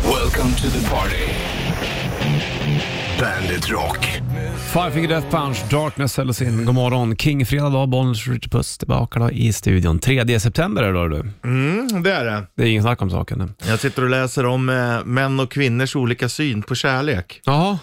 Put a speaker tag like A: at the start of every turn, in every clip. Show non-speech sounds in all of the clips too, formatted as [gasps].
A: Welcome to the party. Bandit Rock.
B: Five Finger Death Punch, Darkness säljer sin. God morgon. King fredag dag, Bollnäs Richard Puss tillbaka då i studion. 3 september är det då du.
C: Mm, det är det.
B: Det är ingen snack om saken. nu.
C: Jag sitter och läser om eh, män och kvinnors olika syn på kärlek.
B: Jaha.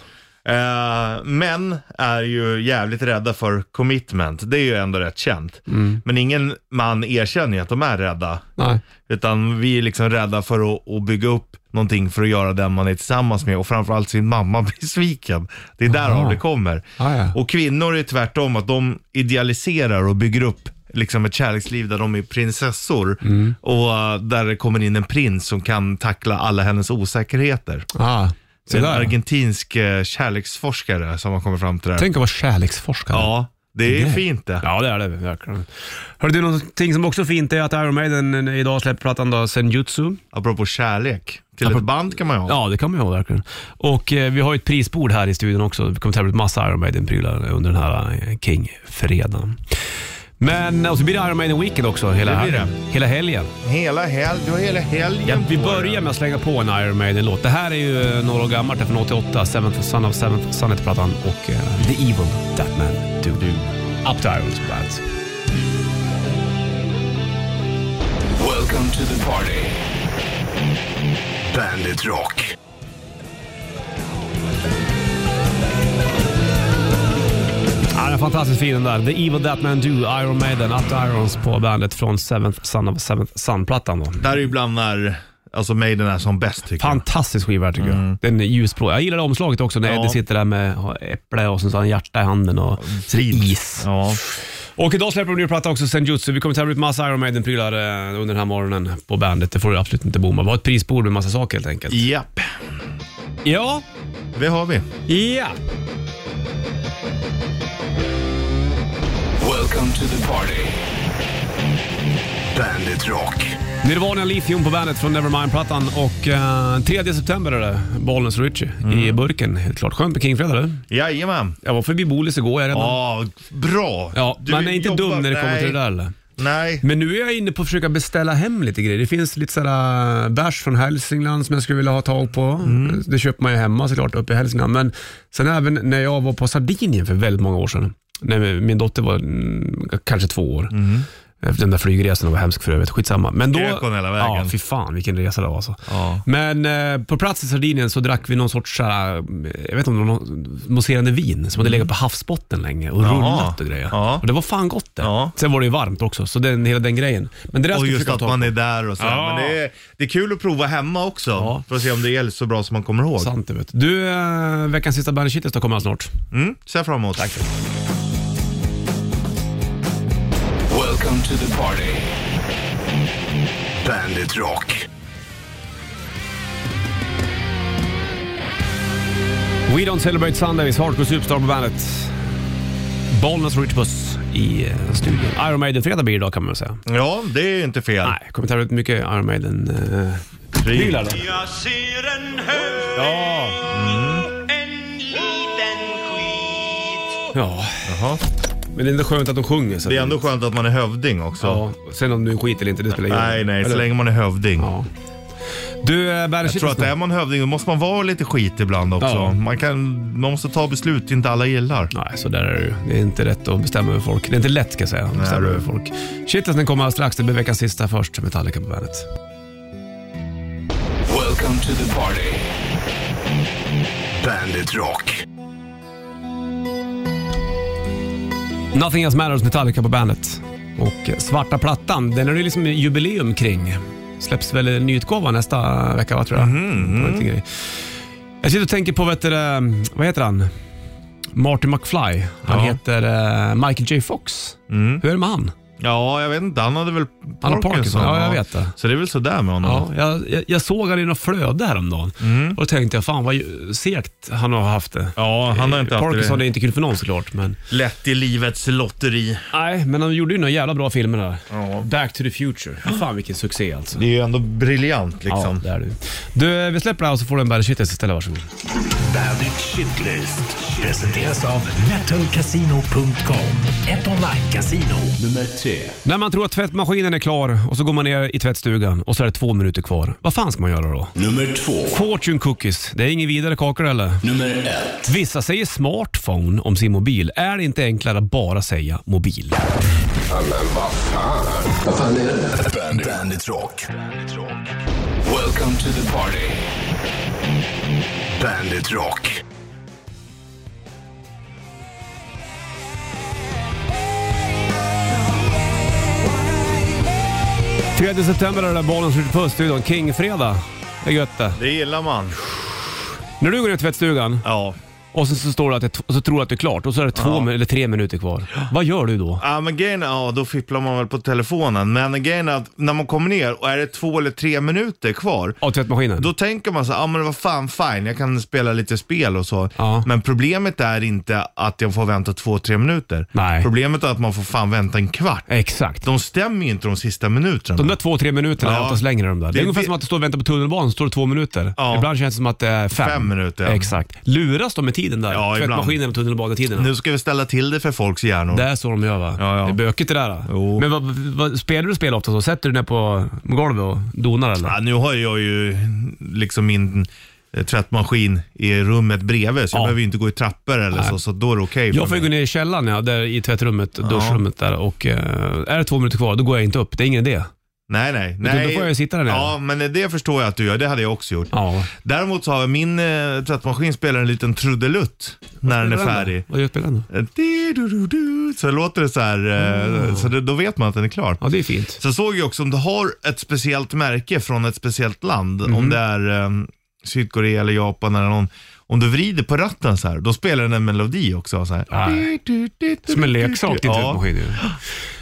C: Eh, män är ju jävligt rädda för commitment. Det är ju ändå rätt känt. Men ingen man erkänner ju att de är rädda.
B: Nej.
C: Utan vi är liksom rädda för att, att bygga upp någonting för att göra den man är tillsammans med och framförallt sin mamma [laughs] besviken. Det är därav det kommer.
B: Ah, ja.
C: Och kvinnor är tvärtom, att de idealiserar och bygger upp liksom ett kärleksliv där de är prinsessor
B: Mm.
C: och eh, där det kommer in en prins som kan tackla alla hennes osäkerheter.
B: Ah,
C: Det
B: så
C: är en
B: där.
C: argentinsk eh, kärleksforskare som har kommit fram till det här.
B: Tänk att vara kärleksforskare.
C: Ja, det är fint det.
B: Ja, det är det verkligen. Hörde du, någonting som också är fint är att Iron Maiden eh, idag släpper plattan då, Senjutsu.
C: Apropå kärlek. Till
B: Apropå-
C: ett band kan man ju ha.
B: Ja, det kan man ju ha verkligen. Och eh, vi har ju ett prisbord här i studion också. Vi kommer tävla ut massa Iron Maiden-prylar under den här eh, King-fredagen. Men, och så blir det Iron Maiden Weekend också hela,
C: Det blir det.
B: hela helgen.
C: Hela helg, du har hela helgen
B: Ja, vi
C: på dig.
B: börjar med att slänga på en Iron Maiden-låt. Det här är ju eh, några år gammalt, det är från 88. Seventh Son of Seventh Son heter plattan och eh, The Evil That Man Do. Up to Irons på bandet.
A: Welcome to the party. Bandit Rock.
B: Ja, den är fantastiskt fin den där. The Evil That Man Do, Iron Maiden, Up to Irons på bandet från Seventh Son of Seventh Son-plattan då.
C: Där är ju bland när alltså Maiden är som bäst tycker jag.
B: Fantastisk skiva här, tycker jag. Den är ljusblå. Jag gillar omslaget också när
C: Ja.
B: Eddie sitter där med har äpple och sen så har han hjärta i handen och så är det is.
C: Ja.
B: Och idag släpper de en ny platta också, Senjutsu. Vi kommer tävla ut massa Iron Maiden-prylar eh, under den här morgonen på bandet. Det får du absolut inte bomma. Vi har ett prisbord med massa saker helt enkelt.
C: Japp,
B: Ja.
C: det har vi.
B: Ja.
A: Welcome to the party. Bandit Rock.
B: Nirvana Lithium på bandet från Nevermind-plattan och eh, 3 september är det Bollnäs och Richie
C: Mm.
B: i burken. Helt klart. Skönt med Kingfredag eller?
C: Jajamän.
B: Jag var förbi Bolis igår. Jag redan.
C: Ja, bra.
B: Ja,
C: Du
B: man är inte
C: jobbar-
B: dum när det kommer
C: nej,
B: till det där eller?
C: Nej.
B: Men nu är jag inne på att försöka beställa hem lite grejer. Det finns lite sådär äh, bärs från Hälsingland som jag skulle vilja ha tag på.
C: Mm.
B: Det köper man ju hemma såklart uppe i Hälsingland. Men sen även när jag var på Sardinien för väldigt många år sedan. När min dotter var mm, kanske två år.
C: Mm.
B: Efter den där flygresan var hemsk för övrigt. Skitsamma. Men då,
C: Krökon hela vägen.
B: Ja, fy fan vilken resa det var alltså.
C: Ja.
B: Men eh, på plats i Sardinien så drack vi någon sorts, såhär, jag vet inte om det var någon mousserande vin som hade legat på havsbotten länge och rullat och grejer.
C: Mm. Ja.
B: Och det var fan gott det.
C: Ja.
B: Sen var det ju varmt också, så den, hela den grejen. Men det där
C: Och
B: ska vi
C: just
B: försöka
C: att
B: ta
C: man
B: på.
C: är där och så. här.
B: Ja.
C: Men det är, det är kul att prova hemma också.
B: Ja.
C: För att se om det är så bra som man kommer ihåg.
B: Sant det vet du. Du, eh, veckans sista Bandit Shitlist då kommer han snart.
C: Mm, ser fram emot. Tack.
A: Welcome to the party. Bandit Rock.
B: We Don't Celebrate Sundays, Hardcore Superstar på bandet. Bollnäs och Rich Puss i eh, studion. Iron Maiden-fredag blir det idag kan man väl säga.
C: Ja, det är ju inte fel.
B: Nej, kommer ta ut mycket Iron Maiden. Eh, prylar då.
D: Jag ser en hög,
C: Ja.
D: en liten skit.
B: Ja,
C: Jaha.
B: men det är ändå skönt att de sjunger. Så
C: Det är ändå skönt att man är hövding också.
B: Ja, sen om du skiter eller inte, det spelar ingen roll.
C: Nej, nej, så
B: Eller?
C: länge man är hövding.
B: Ja. Du, eh, Bandit
C: Jag tror att
B: Shitlist
C: är man hövding då måste man vara lite skit ibland också.
B: Ja.
C: Man, kan, man måste ta beslut inte alla gillar.
B: Nej, så där är det ju. Det är inte rätt att bestämma över folk. Det är inte lätt ska jag säga, att bestämma
C: du.
B: över folk. Shitlisten kommer alldeles strax. Det blir veckans sista först, Metallica på bandet.
A: Welcome to the party. Bandit Rock.
B: Nothing Else Matters, Metallica på bandet. Och eh, Svarta Plattan, den är det liksom jubileum kring. Släpps väl en nyutgåva nästa vecka, va, tror jag.
C: Mhm,
B: Det var lite grej. Jag sitter och tänker på, vet du, eh, vad heter han? Martin McFly. Han
C: Ja.
B: heter eh, Michael J Fox. Hur är det med han?
C: Mm. Ja, jag vet inte. Han hade väl
B: Han har Parkinson. Ja, jag vet det.
C: Så det är väl sådär med honom. Mhm.
B: Ja, jag, jag, jag såg han i något flöde häromdagen och då tänkte jag fan vad ju- segt han har haft det.
C: Ja, han har inte haft
B: Parkinson
C: det
B: är inte kul för någon såklart. Men...
C: lätt i livets lotteri.
B: Nej, men han gjorde ju några jävla bra filmer där.
C: Ja.
B: Back to the future. Fan vilken succé alltså.
C: Det är ju ändå briljant
B: Ja,
C: liksom.
B: det är du. Du, vi släpper det här och så får du en bad shit istället. Varsågod.
E: Bandit Shitlist presenteras av metalcasino.com. Ett online-casino. Nummer 3. det.
B: När man tror att tvättmaskinen är klar och så går man ner i tvättstugan och så är det två minuter kvar. Vad fan ska man göra då?
E: Nummer två.
B: Fortune cookies, det är ingen vidare kakor eller?
E: Nummer ett.
B: Vissa säger smartphone om sin mobil. Är det inte enklare att bara säga mobil?
E: Bandit, Bandit Rock. Bandit Rock.
A: Welcome to the party.
E: Bandit Rock.
B: Tredje september är det där bollen skjuter på studion. King-fredag. Det är gött det.
C: Det gillar man.
B: När du går ner i tvättstugan
C: Ja.
B: och sen så, står det att det, och så tror du att det är klart och så är det två mi- eller tre minuter kvar. Vad gör du då?
C: Ja men grejen är- ja då fipplar man väl på telefonen. Men grejen är att när man kommer ner och är det två eller tre minuter kvar,
B: Av tvättmaskinen?
C: då tänker man så ja ah, men vad fan fine, jag kan spela lite spel och så.
B: Ja.
C: Men problemet är inte att jag får vänta två, tre minuter.
B: Nej.
C: Problemet är att man får fan vänta en kvart.
B: Exakt.
C: De stämmer ju inte de sista minuterna.
B: De där två, tre minuterna är
C: Ja.
B: oftast längre de där. Det är
C: Det-
B: ungefär
C: det-
B: som att du står och väntar på tunnelbanan så står det två minuter.
C: Ja.
B: Ibland känns det som att det är fem.
C: Fem minuter, ja.
B: Exakt. Luras de med tiden där?
C: Ja, ibland.
B: Tvättmaskinen och tunnelbanetiderna.
C: Nu ska vi ställa till det för folks hjärnor.
B: Det är så de gör va?
C: Ja, ja.
B: Det är bökigt det där.
C: Jo.
B: Men vad, vad, spelar du spel ofta så? Sätter du dig ner på golvet och donar eller?
C: Ja, nu har jag ju liksom min eh, tvättmaskin i rummet bredvid så
B: Ja.
C: jag behöver ju inte gå i trappor eller så, så då är det okej för
B: Jag får ju
C: mig.
B: gå ner i källaren ja, där i tvättrummet, duschrummet där och eh, är det två minuter kvar då går jag inte upp. Det är ingen idé.
C: Nej, nej.
B: då
C: nej.
B: får jag ju sitta där nere.
C: Ja, men det förstår jag att du gör. Det hade jag också gjort.
B: Ja.
C: Däremot så har jag min eh, tvättmaskin spelar en liten trudelutt när den är färdig.
B: Vad gör spelaren då?
C: Eh, di-du-du-du. Så låter det så här, eh,
B: Ah.
C: så det, då vet man att den är klar.
B: Ja, det är fint.
C: Sen såg jag också om du har ett speciellt märke från ett speciellt land,
B: Mhm.
C: om det är eh, Sydkorea eller Japan eller någon, om du vrider på ratten så här, då spelar den en melodi också. Så här.
B: Nej. Som en leksak typ din
C: ja.
B: tvättmaskin. ju.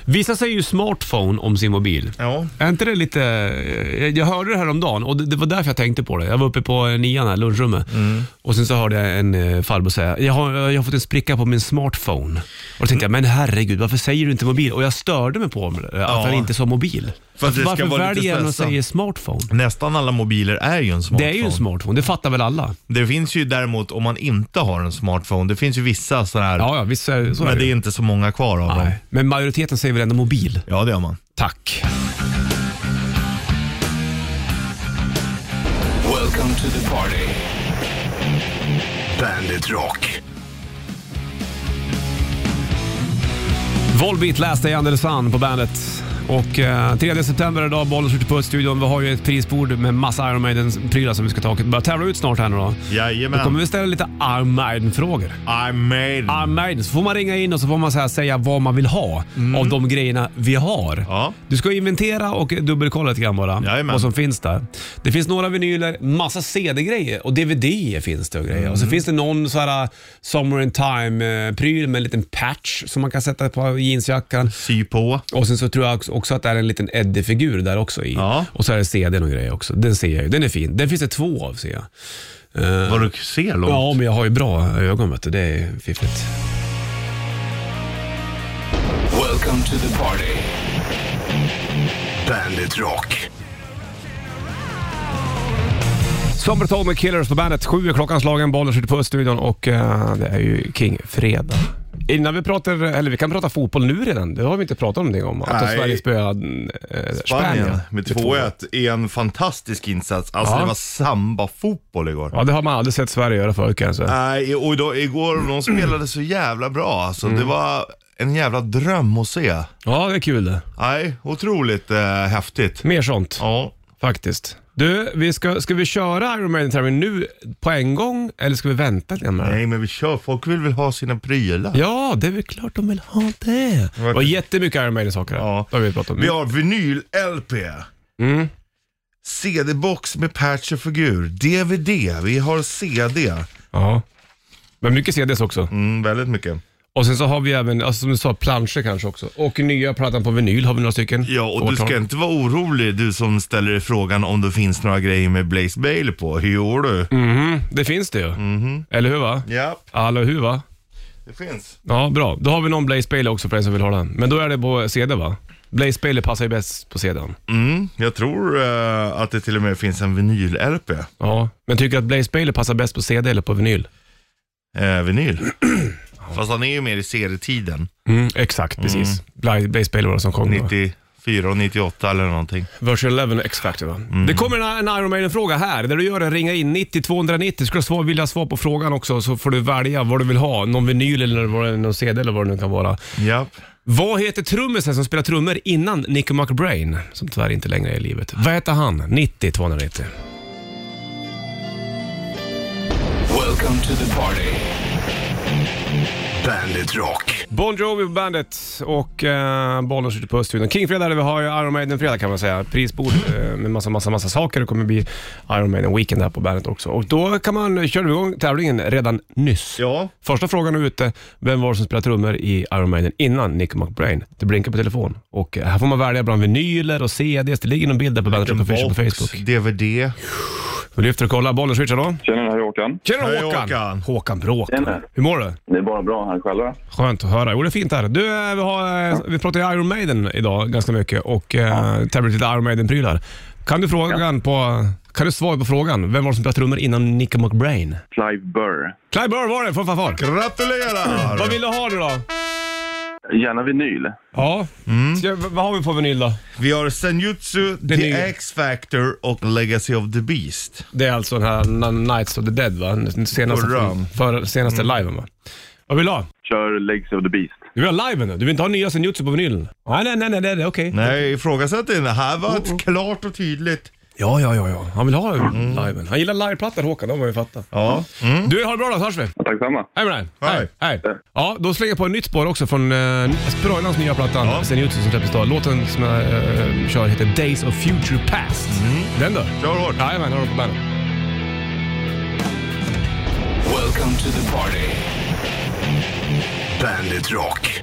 B: Vissa säger ju smartphone om sin mobil.
C: ja.
B: Är inte det lite... eh, jag- Jag hörde det här om dagen och det, det var därför jag tänkte på det. Jag var uppe på eh, nian här, lunchrummet.
C: Mm.
B: Och sen så hörde jag en eh, farbror säga, jag har, jag har fått en spricka på min smartphone. Och då tänkte jag, men herregud, varför säger du inte mobil? Och jag störde mig på det, att
C: Ja.
B: han inte sa mobil.
C: För att det ska
B: varför
C: vara lite
B: väljer han att
C: stressande.
B: säga smartphone?
C: Nästan alla mobiler är ju en smartphone.
B: Det är ju en smartphone, det fattar väl alla?
C: Det finns ju däremot om man inte har en smartphone, det finns ju vissa sådana här,
B: Ja, ja visst är, så är
C: men
B: det
C: det är
B: ju.
C: inte så många kvar av dem.
B: Nej. Men majoriteten säger väl ändå mobil?
C: Ja, det gör man.
B: Tack.
A: Welcome to the party.
E: Bandit Rock.
B: Volbeat Last Day Under the Sun på bandet. Och eh, 3 september idag, bollen skjuter på studion. Vi har ju ett prisbord med massa Iron Maiden-prylar som vi ska ta och börja tävla ut snart här nu då. Då kommer Ah.
C: Jajamän.
B: vi ställa lite Iron Maiden-frågor.
C: I made it.
B: Iron Maiden, så får man ringa in och så får man så här säga vad man vill ha av de grejerna vi har.
C: Mm. Ja.
B: Du ska inventera och dubbelkolla lite grann bara
C: Jajamän.
B: vad som finns där. Det finns några vinyler, massa CD-grejer och DVD finns det och grejer.
C: Mm.
B: Och så finns det någon så här Summer in Time-pryl med en liten patch som man kan sätta på jeansjackan.
C: Sy på.
B: Och sen så tror jag också- också att det är en liten Eddie-figur där också i.
C: Ja.
B: Och så är det CDn och grejer också. Den ser jag ju. Den är fin. Den finns det två av ser jag.
C: Vad du ser långt.
B: Eh. Ja, men jag har ju bra ögon vet du. Det är fiffigt.
A: Welcome to the party.
E: Bandit Rock.
B: Summertime med Killers på bandet. Sju är klockan slagen, bollen skjuter på studion och eh, det är ju King Fredag. Innan vi pratar, eller vi kan prata fotboll nu redan. Det har vi inte pratat någonting om. Att
C: Nej.
B: Sverige spöade eh, Spanien.
C: Spanien med 2-1 är en fantastisk insats. Alltså
B: Ja.
C: det var samba-fotboll igår.
B: Ja, det har man aldrig sett Sverige göra förut kan jag säga.
C: Nej, och idag, igår [clears throat] de spelade så jävla bra alltså. Det var en jävla dröm att se.
B: Ja, det är kul det.
C: Nej, otroligt eh, häftigt.
B: Mer sånt.
C: Ja.
B: Faktiskt. Du, vi ska, ska vi köra Iron Maiden Termin nu på en gång eller ska vi vänta lite med det?
C: Nej men vi kör, folk vill väl ha sina prylar.
B: Ja, det är väl klart de vill ha det. Det var jättemycket Iron Maiden-saker här.
C: Ja.
B: Det har vi pratat om.
C: Vi har vinyl-LP. Mm. CD-box med patch och figur. DVD, vi har CD.
B: Ja. Men mycket CDs också.
C: Mm, väldigt mycket.
B: Och sen så har vi även, alltså som du sa, planscher kanske också. Och nya plattan på vinyl har vi några stycken.
C: Ja, och du
B: Årtal.
C: ska inte vara orolig du som ställer dig frågan om det finns några grejer med Blaze Bailey på. Hur gör du?
B: Mhm, det finns det ju.
C: Mhm.
B: Eller hur va?
C: Ja,
B: Eller hur va?
C: det finns.
B: Ja, bra. Då har vi någon Blaze Bailey också för den som vill ha den. Men då är det på CD va? Blaze Bailey passar ju bäst på CDn.
C: Mm, jag tror eh, att det till och med finns en vinyl-LP.
B: [clears throat] Ja. Men tycker du att Blaze Bailey passar bäst på CD eller på vinyl?
C: Eh, vinyl. Fast han är ju mer i serietiden.
B: Mm, exakt, precis. Mm. Blaze Baylor som sjöng då.
C: 94 och 98 eller någonting.
B: Version 11 X-Factor va? Det kommer en, en Iron Maiden-fråga här. Där du gör en ringa in 90 290. Skulle du svar, vilja ha svar på frågan också så får du välja vad du vill ha. Någon vinyl eller vad det- någon CD eller vad det nu kan vara.
C: Japp.
B: Vad heter trummisen som spelade trummor innan Nicky McBrain, som tyvärr inte längre är i livet? Vad heter han? 90 290.
A: Welcome to the party.
E: Bandit Rock.
B: Bon Jovi på bandet och eh, bollen skjuter på Öststudion. Kingfredag där vi har ju Iron Maiden-fredag kan man säga. Prisbord eh, med massa, massa, massa saker. Det kommer bli Iron Maiden-weekend här på bandet också. Och då kan man köra igång tävlingen redan nyss.
C: Ja.
B: Första frågan är ute. Vem var det som spelade trummor i Iron Maiden innan Nick McBrain? Det blinkar på telefon. Och eh, här får man välja bland vinyler och CDs. Det ligger någon bild där på bandet Rock Official på Facebook.
C: DVD.
B: Vi lyfter och kollar. Bollen switchar då.
F: Tjena, hej Håkan.
B: Tjena
C: Hej,
B: Håkan!
C: Håkan.
B: Håkan Bråk.
F: Tjena.
B: Hur mår du?
F: Det är bara bra här själva.
B: Skönt att höra. Jo, det är fint här. Du, eh, vi, har, eh, vi pratar ju Iron Maiden idag ganska mycket och eh, tävlar lite Iron Maiden-prylar. Kan du, frågan på, kan du svara på frågan? Vem var det som spelade trummor innan Nick McBrain?
F: Clive Burr.
B: Clive Burr var det, från farfar. [laughs]
C: Gratulerar!
B: Vad vill du ha nu då?
F: Gärna vinyl.
B: Ja, Ska, v- vad har vi på vinyl då?
C: Vi har Senjutsu, The
B: nya.
C: X-Factor och Legacy of the Beast.
B: Det är alltså den här N- Nights of the Dead va? Den senaste,
C: Förra.
B: för, senaste liven va? Vad vill du ha?
F: Kör Legs of the Beast.
B: Du vill ha liven nu? Du vill inte ha nya Senjutsu på vinylen? Nej, nej, nej, nej, det är det. okej.
C: Nej, ifrågasätt inte. Det här var
B: Oh,
C: ett klart och tydligt.
B: Ja, ja, ja, ja. Han vill ha liven. Han gillar liveplattor Håkan, det har man ju fattat.
C: Mm. Ja. Mm.
B: Du, har det bra då så hörs vi.
F: Ja, Tack samma.
B: Hej med dig.
C: Hej.
B: Hej. Ja, då slänger jag på ett nytt spår också från uh, Sproilans nya platta ja.
C: Ja.
B: Senjutsu som släpptes idag. Låten som jag eh, kör heter Days of Future Past. Den då?
C: Mm. Kör hårt.
B: Jajamän, har du på bandet.
A: Welcome to the party.
E: Bandit Rock.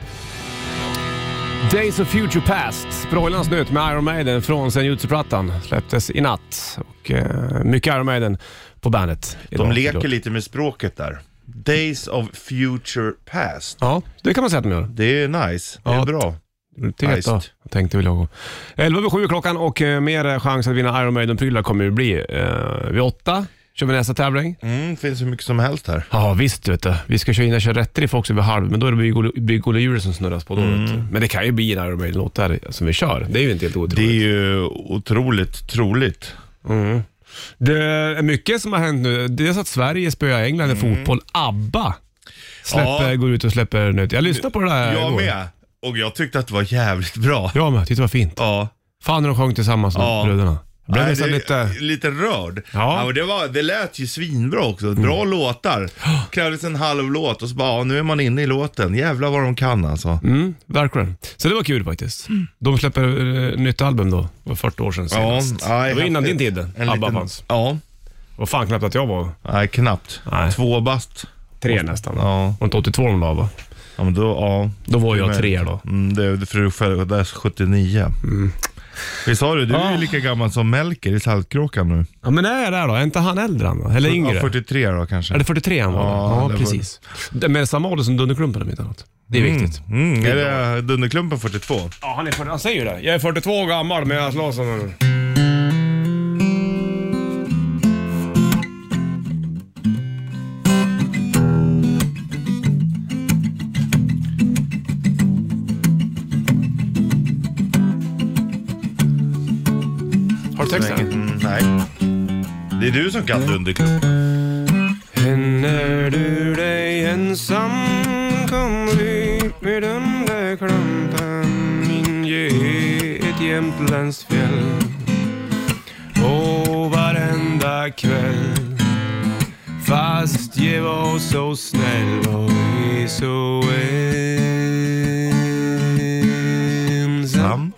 B: Days of Future Past, Sproilans nytt med Iron Maiden från Senjutsu-plattan. Släpptes i natt och eh, mycket Iron Maiden på bandet.
C: De
B: idag,
C: leker
B: såklart.
C: lite med språket där. Days of Future Past.
B: Ja, det kan man säga att de gör.
C: Det är nice. Det är
B: Ja.
C: bra.
B: Prioritet då,
C: Nice.
B: tänkte väl jag. gå. 11 över 7 klockan och eh, mer chans att vinna Iron Maiden-prylar kommer det bli. Eh, vid åtta kör vi nästa tävling.
C: Mm, finns hur mycket som helst här.
B: Ja visst vet du. Vi ska köra in och köra rätter i folk över halv, men då är det Bygg- Bygg Olle Djur som snurras på då.
C: Mm.
B: Vet du. Men det kan ju bli en Iron Maiden-låt där som vi kör. Det är ju inte helt
C: Det
B: otroligt.
C: är ju otroligt troligt.
B: Mm. Det är mycket som har hänt nu. Dels att Sverige spöar England i fotboll. ABBA släpper,
C: Mm. Ja.
B: går ut och släpper nytt. Jag lyssnade på det där
C: Jag
B: igår.
C: med. Och jag tyckte att det var jävligt bra.
B: Jag med. Titta vad fint.
C: Ja.
B: Fan när de sjöng tillsammans,
C: Ja.
B: ja. bröderna. Jag blev
C: Nej,
B: nästan
C: det-
B: lite...
C: lite rörd.
B: Ja. Mm.
C: Ja. men det, var, det lät ju svinbra också.
B: [gasps]
C: Bra låtar. Krävdes en halv låt och så bara, ja, nu är man inne i låten. Jävlar vad de kan alltså.
B: Mm, verkligen. Så det var kul faktiskt. De släpper eh, nytt album då. Det var 40 år sedan senast.
C: nej,
B: det var innan din
C: häftigt.
B: tid,
C: En
B: ABBA
C: liten-
B: fanns.
C: Ja,
B: Och fan knappt att jag var
C: nej knappt.
B: Nej.
C: Två bast.
B: tre nästan.
C: Ja.
B: Var inte 82 de var va?
C: Ja, men då, ja.
B: Då var jag
C: Men-
B: tre då.
C: Mm, det, för du föddes 79. Visst har du, du
B: Ah.
C: är ju lika gammal som Melker i Saltkråkan nu.
B: Ja men är jag där då? Är inte han äldre han då? Eller yngre?
C: Ja, 43 då kanske.
B: Är det 43 han var?
C: Ja,
B: Ja,
C: det var-
B: precis. Det- Men samma ålder som Dunderklumpen om inte annat. Det är viktigt.
C: Mm, är det Dunderklumpen 42?
B: Ja, han, är 40, han säger ju det. Jag är 42 år gammal men jag slåss som en... Har du texten?
C: Mm, nej. Det är du som kan Dunderklumpen.
B: Känner du dig ensam kom ryck med den där klumpen inge ett jämtlandsfjäll och varenda kväll fast jag var så snäll var vi så ensam
C: Sam.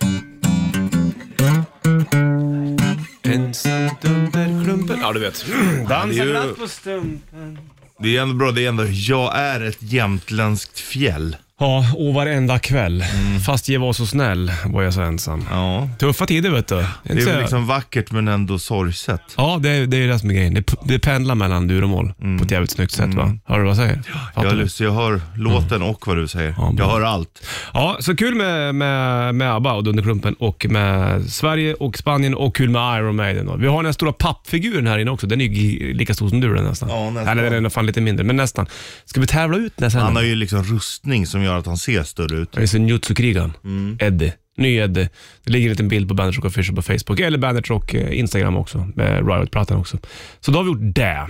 B: Ensamt under klumpen Ja, du vet.
C: det är ju-
B: på stumpen
C: Det är ändå bra, det är ändå, jag är ett jämtländskt fjäll.
B: Ja, och varenda kväll. Fast ge var så snäll var jag så ensam.
C: Ja.
B: Tuffa tider vet du. Jag kan
C: Det
B: inte
C: är
B: säga-
C: väl liksom vackert men ändå sorgset.
B: Ja, det är, det är det som är grejen. Det, p- det pendlar mellan dur och moll
C: Mm.
B: på ett jävligt snyggt sätt. Va? Hör du vad jag säger? Fattar
C: Jag,
B: du?
C: Lucy, jag hör låten och vad du säger.
B: Mm. Ja, bra.
C: jag hör allt.
B: Ja, så kul med, med, med ABBA och Dunderklumpen och med Sverige och Spanien och kul med Iron Maiden. då. Vi har den här stora pappfiguren här inne också. Den är ju gi- lika stor som du den nästan.
C: Ja, nästan.
B: Eller den är fan lite mindre, men nästan. Ska vi tävla ut den här sen?
C: Han har ju liksom rustning som gör att han ser större ut.
B: Det är så Njutsu-krigaren. Eddie. Ny Eddie. Det ligger en liten bild på Bandit Rock Official på Facebook, eller Bandit Rock eh, Instagram också, med Riot-plattan också. Så då har vi gjort det.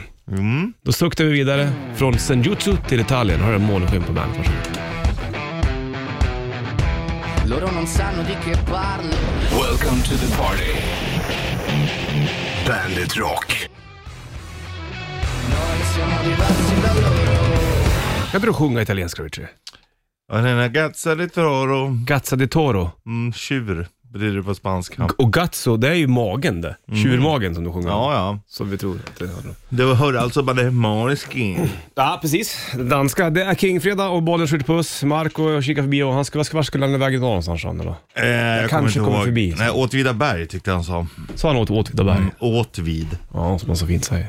B: Då suktar vi vidare från Senjutsu till Italien. Har du en måneskinn på bandet? Varsågod.
G: Loro non sanno di che parlo.
A: Welcome to the party.
E: Bandit Rock.
G: Noi siamo diversi da loro.
B: Kan inte du sjunga italienska, Richie?
C: Och den här gazza di toro.
B: Gazza di Toro.
C: Mm, tjur blir det på spanska.
B: Och gazzo, det är ju magen det. Tjurmagen som du sjunger om.
C: Ja, ja.
B: Som vi tror att det handlar om.
C: Det var- hör alltså bara det Måneskin.
B: Ja, precis. Danska. Det är Kingfredag och bollen skjuter puss. Marco kikar förbi och han ska, var skulle han iväg idag någonstans? Sean, Eller?
C: Eh, jag
B: kanske
C: inte
B: kommer
C: ihåg.
B: förbi.
C: Nej, Åtvidaberg tyckte han sa.
B: Så han åt Åtvidaberg.
C: Åtvid.
B: Ja, som man så fint säger.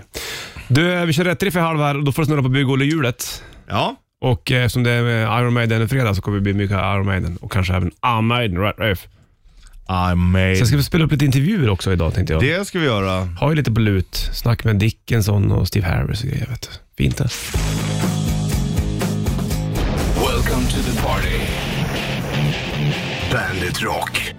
B: Du, eh, vi kör rätt riff i halv här och då får du snurra på bygghjulet.
C: Ja,
B: Och eh, eftersom det är Iron Maiden och fredag så kommer det bli mycket Iron Maiden och kanske även Amaiden. Right, right.
C: I made.
B: Sen ska vi spela upp lite intervjuer också idag tänkte jag.
C: Det ska vi göra.
B: Har ju lite på lut. Snack med Dickinson och Steve Harris och grejer. Vet du. Fint eh. det.
A: Welcome to the party.
E: Bandit Rock.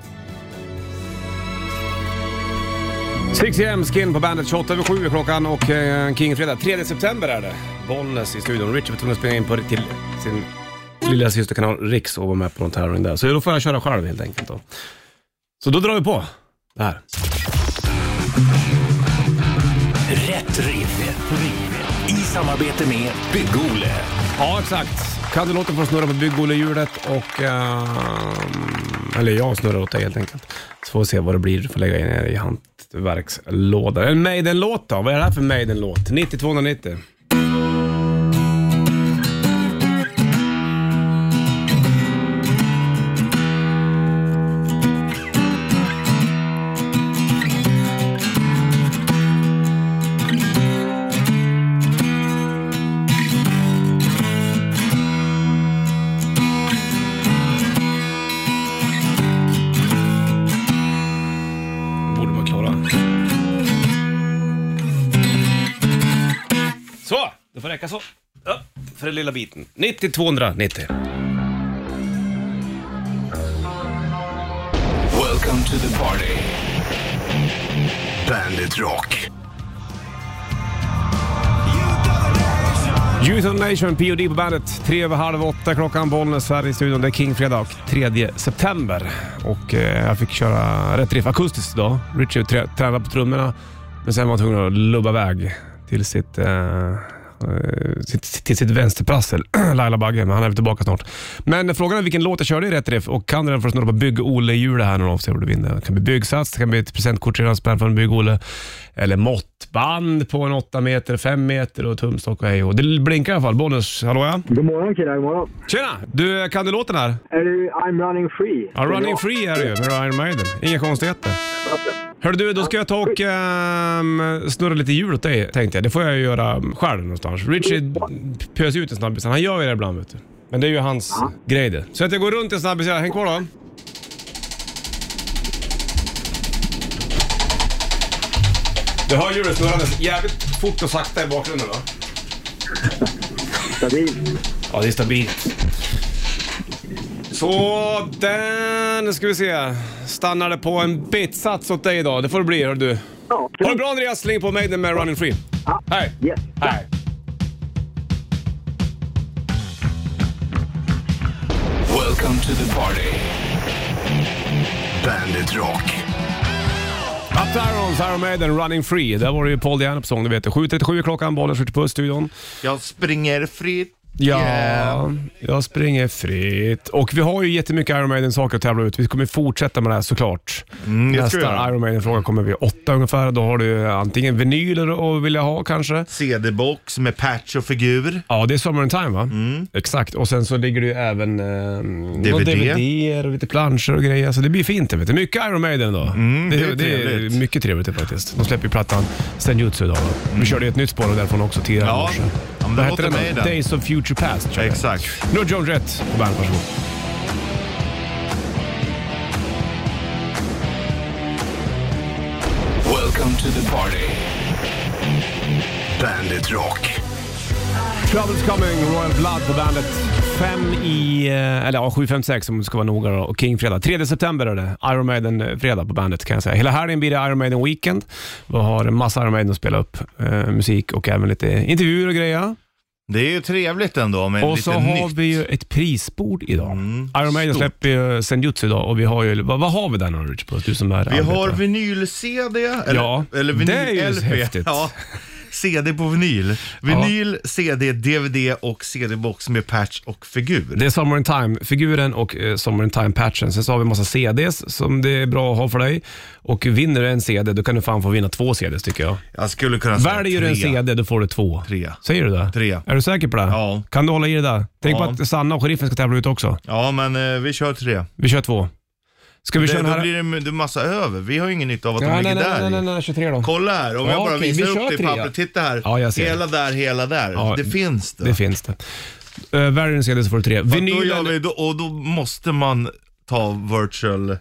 B: 6am skin på bandet 28 över 7 är klockan och eh, Kingfredag 3 september är det. Bollnäs i studion. Richard var tvungen att spela in på till sin lilla systerkanal Riks och vara med på någon tävling där. Så då får jag köra själv helt enkelt. Då. Så då drar vi på det här.
E: Rätt riff. I samarbete med Bygg-Ole.
B: Ja, exakt. Kan du låta få snurra på bygg-Olle-hjulet och... ehm, eller jag snurrar åt dig helt enkelt. Så får vi se vad det blir. Du får lägga in det i hantverkslådan. En Maiden-låt då? Vad är det här för Maiden-låt? 9290. Borde vara klara. Så, det får räcka så. Ja, för den lilla biten. 90-290.
A: Welcome to the party.
E: Bandit Rock.
B: Youth of Nation, POD på bandet. Tre över halv åtta klockan. Bollnäs här i studion. Det är Kingfredag, 3 september. Och eh, jag fick köra rätt riff akustiskt idag. Richard trä- tränade på trummorna, men sen var han tvungen att lubba iväg till sitt, eh, eh, sitt, till sitt vänsterprassel. [clears throat] Laila Bagge, men han är väl tillbaka snart. Men frågan är vilken låt jag körde i rätt riff och kan du den för att snurra på Bygg-Olle-hjulet här när du avser vad du vinner. Det kan bli byggsats, det kan bli ett presentkort till spänn från Bygg-Olle. Eller måttband på en 8 meter, 5 meter och tumstock och hej och. Det blinkar i alla fall. Bonus, hallå ja.
H: God morgon killar, god morgon.
B: Tjena! Du, kan du låten här?
H: Är det I'm running free?
B: Ja, running free är det ju med Iron Maiden. Inga konstigheter. Hörru du, då ska jag ta och ehm, snurra lite hjul åt dig tänkte jag. Det får jag ju göra själv någonstans. Richie pös ut en snabbis. Han gör ju det ibland vet du. Men det är ju hans grej det. Så att jag går runt en snabbis. här. Häng kvar då. Du hör hjulet snurrandes jävligt fort och sakta i bakgrunden va?
H: Stabil.
B: Ja, det är stabilt. Så där, nu ska vi se. Stannade på en bitsats åt dig idag. Det får det bli, hör du.
H: Ja,
B: Ha det bra Andreas, släng på Maiden med Running Free. Hej!
H: Yes.
B: Hej!
A: Welcome to the party.
E: Bandit Rock.
B: Up to Irons, Iron Maiden, Running Free. Där var det ju Paul Diana på sång, du vet det. 7.37 är klockan, bollen skjuter på studion.
C: Jag springer fritt.
B: Ja,
C: Yeah.
B: jag springer fritt. Och vi har ju jättemycket Iron Maiden-saker att tävla ut. Vi kommer fortsätta med det här såklart.
C: Mm, det ska vi
B: Nästa
C: göra.
B: Iron Maiden-fråga kommer vid åtta ungefär. Då har du antingen vinyler att vilja ha kanske.
C: CD-box med patch och figur.
B: Ja, det är Summer in Time va?
C: Mm.
B: Exakt. Och sen så ligger det ju även eh,
C: DVD.
B: dvd och lite planscher och grejer. Så det blir fint. Vet du. Mycket Iron Maiden då. det,
C: Mm, det är
B: det
C: trevligt.
B: är mycket trevligt det faktiskt. De släpper ju plattan Senjutsu idag. va? Vi körde ju ett nytt spår därifrån också tidigare i
C: Mm. Ja.
B: morse.
C: Ja, men
B: Vad
C: det
B: hette
C: låter
B: den?
C: med
B: då?
C: i den.
B: Days of Future Past. körde jag.
C: Exakt.
B: Nu har Jones rätt på bandet, varsågod.
A: Welcome to the party.
E: Bandit Rock.
B: Trouble's coming, Royal Blood på bandet. Fem i, eh, eller ja, 7.56 om det ska vara noga då. Och King fredag. 3 september är det. Iron Maiden eh, fredag på bandet kan jag säga. Hela helgen blir det Iron Maiden Weekend. Vi har en massa Iron Maiden att spela upp. Eh, musik och även lite intervjuer och grejer.
C: Det är ju trevligt ändå med
B: Och
C: lite
B: så har
C: nytt.
B: vi ju ett prisbord idag.
C: Mm,
B: Iron Maiden
C: stort.
B: släpper ju Senjutsu idag och vi har ju, vad, vad har vi där nu Rich? Puss? Du som är
C: Vi har
B: arbetare.
C: vinyl-CD, eller,
B: Ja,
C: eller
B: det är ju
C: vinyl-LP.
B: häftigt.
C: Ja, CD på vinyl. Vinyl, CD, DVD och CD-box med patch och figur.
B: Det är Summer in Time-figuren och eh, Summer in Time-patchen. Sen så har vi en massa CDs som det är bra att ha för dig. Och vinner du en CD, då kan du fan få vinna två CDs tycker jag.
C: Jag skulle kunna säga
B: Väljer du en
C: tre.
B: CD, då får du två.
C: Tre.
B: Säger du det?
C: Tre.
B: Är du säker på det?
C: Ja.
B: Kan du hålla i det där? Tänk
C: Ja.
B: på att Sanna och sheriffen ska tävla ut också.
C: Ja, men eh, vi kör tre.
B: Vi kör två. Ska vi
C: Det,
B: köra den
C: då
B: här?
C: blir det en massa över. Vi har ju ingen nytta av att de
B: nej, nej,
C: ligger där
B: nej, nej,
C: i.
B: nej, nej, 23 då.
C: Kolla här, om
B: Ja,
C: jag bara
B: okej, vi
C: visar
B: kör
C: upp det i
B: trea.
C: pappret. Titta här.
B: Ja, jag ser
C: hela där, hela där.
B: Ja,
C: det finns det.
B: Det finns det. Uh, väljer du en CD så får du tre.
C: För att Då gör
B: Vinylen...
C: vi, då, och då måste man ta virtual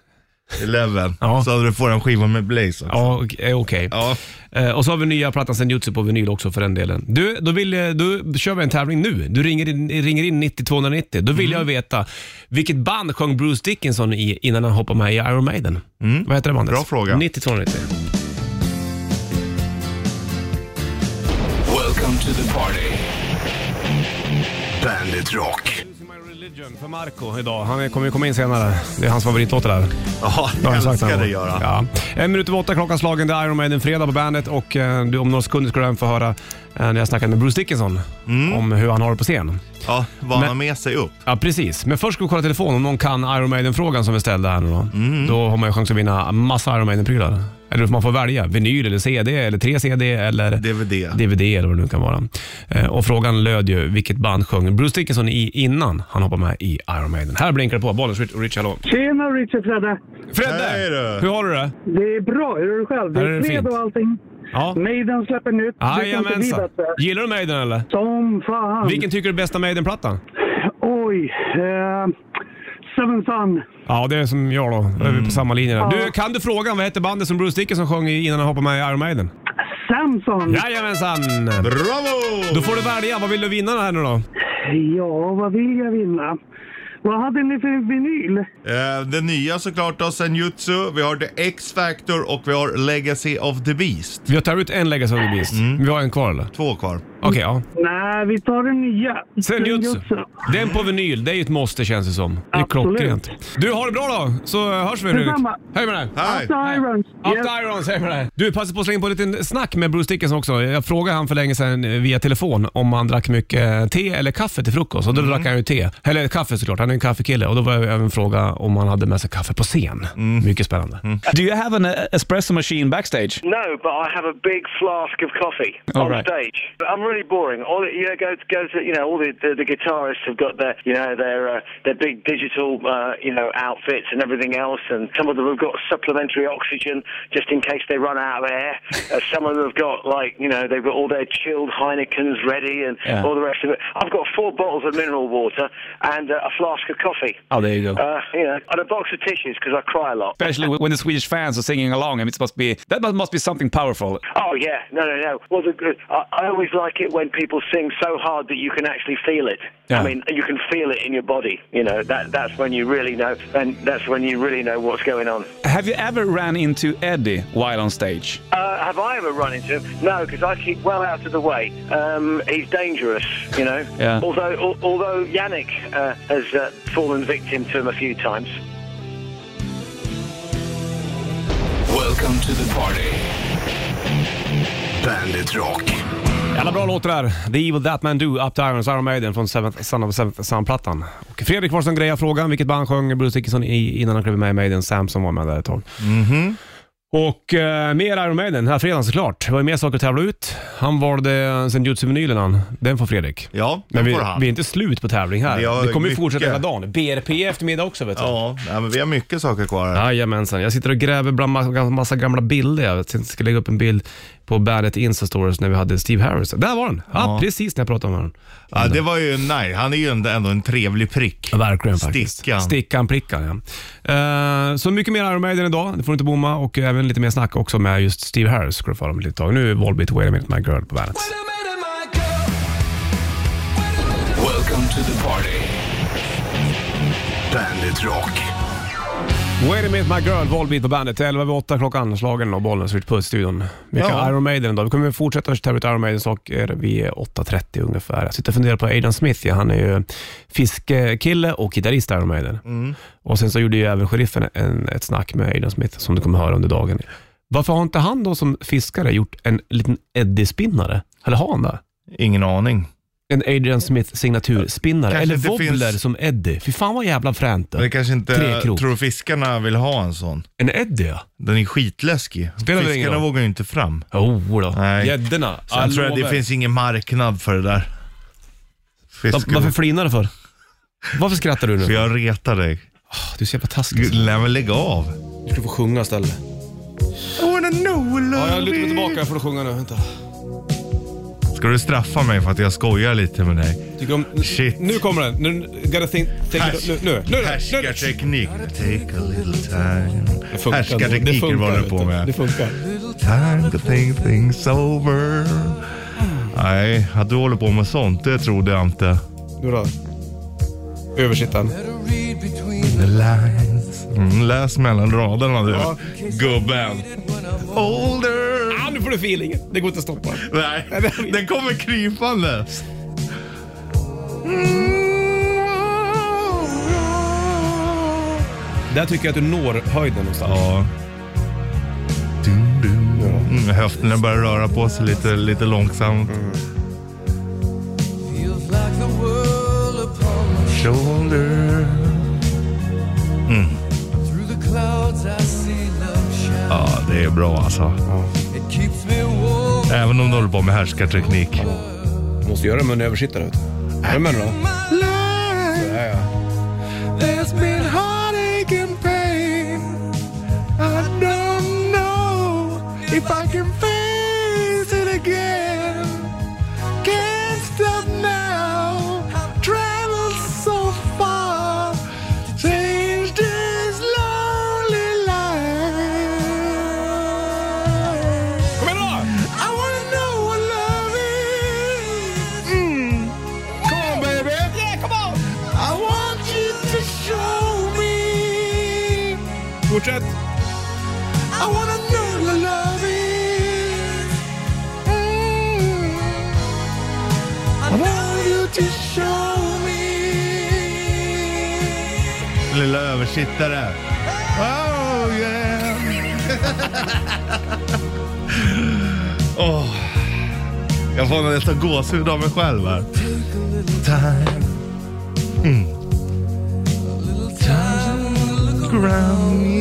C: 11.
B: Ja.
C: Så att du får en skiva med Blaze också.
B: Ja, okej. okej.
C: Ja.
B: Eh, och så har vi nya plattan Senjutsu på vinyl också för den delen. Du, då, vill, eh, då kör vi en tävling nu. Du ringer in, ringer in 90 290. Då
C: Mm.
B: vill jag veta, vilket band sjöng Bruce Dickinson i innan han hoppade med i Iron Maiden? Vad heter det bandet?
C: Mm. Bra fråga.
B: 90 290.
A: Welcome to the party.
E: Bandit Rock.
B: My Religion för Marco idag. Han kommer ju komma in senare. Det är hans favoritlåt det där.
C: Ja,
B: Det har
C: jag
B: han sagt
C: älskar
B: någon
C: det
B: gång.
C: göra.
B: Ja. En minut över åtta klockan slagen. Det är Iron Maiden fredag på bandet och eh, du, om några sekunder ska du även få höra eh, när jag snackade med Bruce Dickinson
C: Mm.
B: om hur han har det på scen.
C: Ja, vad han
B: Men-
C: har med sig upp.
B: Ja, precis. Men först ska vi kolla telefon om någon kan Iron Maiden-frågan som vi ställde här nu då. Då har man ju chans att vinna massa Iron Maiden-prylar. Eller man får välja. Vinyl eller CD eller 3 CD eller
C: DVD.
B: DVD eller vad det nu kan vara. Eh, och frågan löd ju vilket band sjöng Bruce Dickinson i innan han hoppade med i Iron Maiden. Här blinkar det på. Bollens Rich, Rich hallå.
H: Tjena Richard Fredde!
B: Fredde!
C: Hej du!
B: Hur har du det?
H: Det är bra, hur är du själv? Det
B: Ja, det är
H: är
B: fint.
H: fredag och allting.
B: Ja.
H: Maiden släpper nytt. det kan inte bli
B: Jajamensan.
H: bättre.
B: Gillar du Maiden eller?
H: Som fan.
B: Vilken tycker du är bästa Maiden-plattan?
H: Oj. Eh, Seven Sun.
B: Ja, det är som jag då. Då är vi på samma linje. där.
H: Ja.
B: Du, kan du frågan vad hette bandet som Bruce Dickinson sjöng i innan han hoppade med i Iron Maiden?
H: Samson.
B: Jajamensan!
C: Bravo!
B: Då får du välja. Vad vill du vinna här nu då?
H: Ja, vad vill jag vinna? Vad hade ni för vinyl?
C: Eh, det nya såklart då, Senjutsu, vi har The X-Factor och vi har Legacy of the Beast.
B: Vi har tagit ut en Legacy of the Beast. Vi har en kvar eller?
C: Två kvar.
B: Okej, ja.
H: Nej, vi tar den nya.
B: Senjutsu.
H: Senjutsu.
B: Den på vinyl, det är ju ett måste känns det som. Det är
H: Absolut.
B: klockrent. Du, har det bra då, så hörs vi Fredrik.
H: Detsamma.
B: Hej med dig!
C: Hej!
H: After Irons.
B: Up
H: Yes.
B: to Irons, hej med dig! Du, passa på att slänga på en liten snack med Bruce Dickinson också. Jag frågade han för länge sedan eh, via telefon om han drack mycket eh, te eller kaffe till frukost. Och då drack han ju te. Eller kaffe såklart, han är en kaffekille. Och då var jag även fråga om han hade med sig kaffe på scen. Mycket spännande.
I: Do you have an uh, espresso machine backstage?
J: No, but I have a big flask of coffee
I: All
J: on
I: right.
J: stage. But I'm really boring. All it- you know, go to, go to you know all the, the, the guitarists have got their you know their uh, their big digital uh, you know outfits and everything else, and some of them have got supplementary oxygen just in case they run out
I: [laughs]
J: of air. uh, some of them have got like you know they've got all their chilled Heinekens ready and
I: Yeah.
J: all the rest of it. I've got four bottles of mineral water and uh, a flask of coffee.
I: Oh, there you go.
J: Uh, you know, and a box of tissues because I cry a lot.
I: Especially wh- when the Swedish fans are singing along, I mean, it must be that mu- must be something powerful.
J: Oh yeah, no, no, no. Well, the, the- I, I always like it when people sing so hard that you can actually feel it.
I: Yeah.
J: I mean, you can feel it in your body. You know, that that's when you really know, and that's when you really know what's going on.
I: Have you ever ran into Eddie while on stage?
J: Uh, have I ever run into him? No, because I keep well out of the way. Um, he's dangerous, you know.
I: Yeah.
J: Although, al- although Yannick uh, has uh, fallen victim to him a few times.
A: Welcome to the party.
E: Bandit Rock.
B: Jävla bra låt det där. The Evil That Man Do, Up to Irons, Iron Maiden från Seventh Son of Seventh Son-plattan. Och Fredrik var som grejade frågan, vilket band sjöng Bruce Dickinson i innan han klev med i Maiden? Samson var med där ett tag.
C: Mhm.
B: Och eh, mer Iron Maiden den här fredagen såklart. Det var ju mer saker att tävla ut. Han valde Senjutsu-vinylen han. Den får Fredrik.
C: Ja,
B: Men
C: den
B: vi,
C: får han.
B: vi är inte slut på tävling här.
C: Vi har
B: det kommer ju
C: mycket.
B: fortsätta hela dagen. BRP i eftermiddag också vet du.
C: Ja, nej, men vi har mycket saker kvar här.
B: Jajamensan. Jag sitter och gräver bland ma- massa gamla bilder. Jag tänkte jag ska lägga upp en bild på bandet Insta Stories när vi hade Steve Harris. Där var den! Ja, precis när jag pratade om den.
C: Ja, det var ju, nej, han är ju ändå ändå en trevlig prick.
B: Verkligen faktiskt.
C: Stickan.
B: Stickan, prickan ja. Eh, så mycket mer Iron Maiden idag, det får du inte bomma. Och även lite mer snack också med just Steve Harris ska du få höra om lite tag. Nu är Volbeat Wait a minute my girl på bandet.
A: Welcome to the party.
E: Bandit Rock.
B: Wait a minute my girl, Volbeat på bandet. 11 över 8 klockan, slagen och bollen slut på studion. Mycket
C: Ja.
B: Iron Maiden idag. Vi kommer fortsätta tävla ut Iron Maiden eh, saker vid 8.30 ungefär. Jag sitter och funderar på Adam Smith. Ja, han är ju fiskekille och gitarrist i Iron Maiden.
C: Mm.
B: Och sen så gjorde ju även sheriffen en, ett snack med Adam Smith som du kommer höra under dagen. Varför har inte han då som fiskare gjort en liten Eddie-spinnare? Eller har han det?
C: Ingen aning.
B: En Adrian Smith signaturspinnare,
C: Kanske
B: eller
C: inte
B: wobbler
C: finns-
B: som Eddie. Fy fan vad jävla fränt.
C: Men det kanske inte,
B: Trekrok.
C: tror fiskarna vill ha en sån.
B: En Eddie ja.
C: Den är skitläskig.
B: Spelar väl ingen
C: fiskarna
B: roll.
C: vågar ju inte fram.
B: Jo då.
C: Nej.
B: Gäddorna.
C: Så jag tror att det
B: Allåväl.
C: finns ingen marknad för det där.
B: Va-
C: Fisk,
B: Varför flinar du för? Varför skrattar du nu?
C: För jag retar dig.
B: Du är så jävla taskig. alltså.
C: Gud, Nej men lägg av.
B: Du ska få sjunga istället.
C: I wanna know, love
B: Ja, jag lutar mig
C: me.
B: tillbaka. Jag får sjunga nu. Vänta.
C: Ska du straffa mig för att jag skojar lite med dig?
B: Tycker om...
C: Shit.
B: Nu kommer den. Nu, gotta think... think
C: Härs-
B: nu, nu, nu, nu, nu.
C: Härskarteknik. Take a little time.
B: Det funkar ändå. Det
C: Härskartekniker
B: funkar,
C: var du
B: vet
C: på
B: du. Det
C: med.
B: funkar.
C: Time to think things over. Nej, att du håller på med sånt, det trodde jag inte.
B: Nu då. Översittaren.
C: The lines. Mm, läs mellan raderna du, gubben. Older.
B: Ah, nu får du feelingen. Det går inte att stoppa.
C: Nej, den kommer krypandes.
B: Där tycker jag att du når höjden någonstans.
C: Ja. Mm, höfterna börjar röra på sig lite, lite långsamt. Mm. Shoulder. Mm. Ja, det är bra alltså. Även om du håller på med härskarteknik.
B: Du måste göra det med en översittare. vet du. Är du med nu då?
C: There's been heartache and pain. I don't know if I can face it again. Can't stop now. Traveled so far. Changed this lonely life.
B: Kom igen då!
C: I wanna know what love is. Mm. Come on, baby. Yeah, come on. I want you to show me.
B: Fortsätt.
C: I wanna know what love is. Mm. I want you to show me. Lilla översittare. Oh yeah. [laughs] Åh, Jag får nästan gåshud av mig själv här. Time. Mm. Time ground me.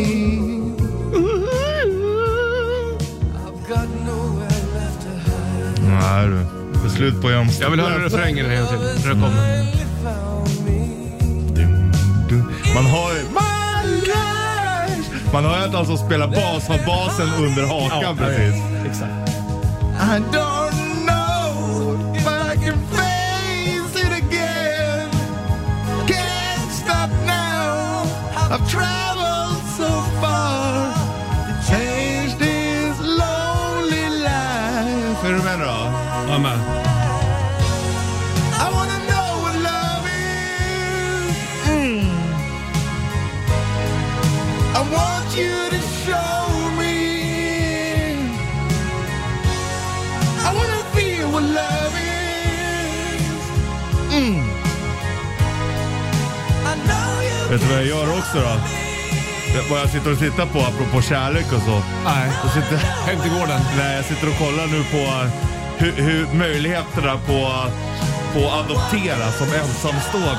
C: Nej du, det är slut på Jömsta.
B: Jag vill höra refrängen en gång till. När det kommer.
C: Dum, dum. Man har ju... Man har ju att alltså spela bas, ha basen under hakan
B: Ja,
C: precis.
B: Exakt.
C: I don't know if I can face it again. Can't stop now. I've traveled so far to change this lonely life. Är du med då?
B: Jag med.
C: I wanna know what love is. Mm. I want you to show me. I wanna feel what love is. Mm. Vet du vad jag gör också då? Det- Vad jag sitter och tittar på apropå kärlek och så.
B: Nej. [laughs]
C: Jag sitter,
B: Hem till gården.
C: nej, jag sitter och kollar nu på hur, hur möjligheterna på, på att adoptera som ensamstående.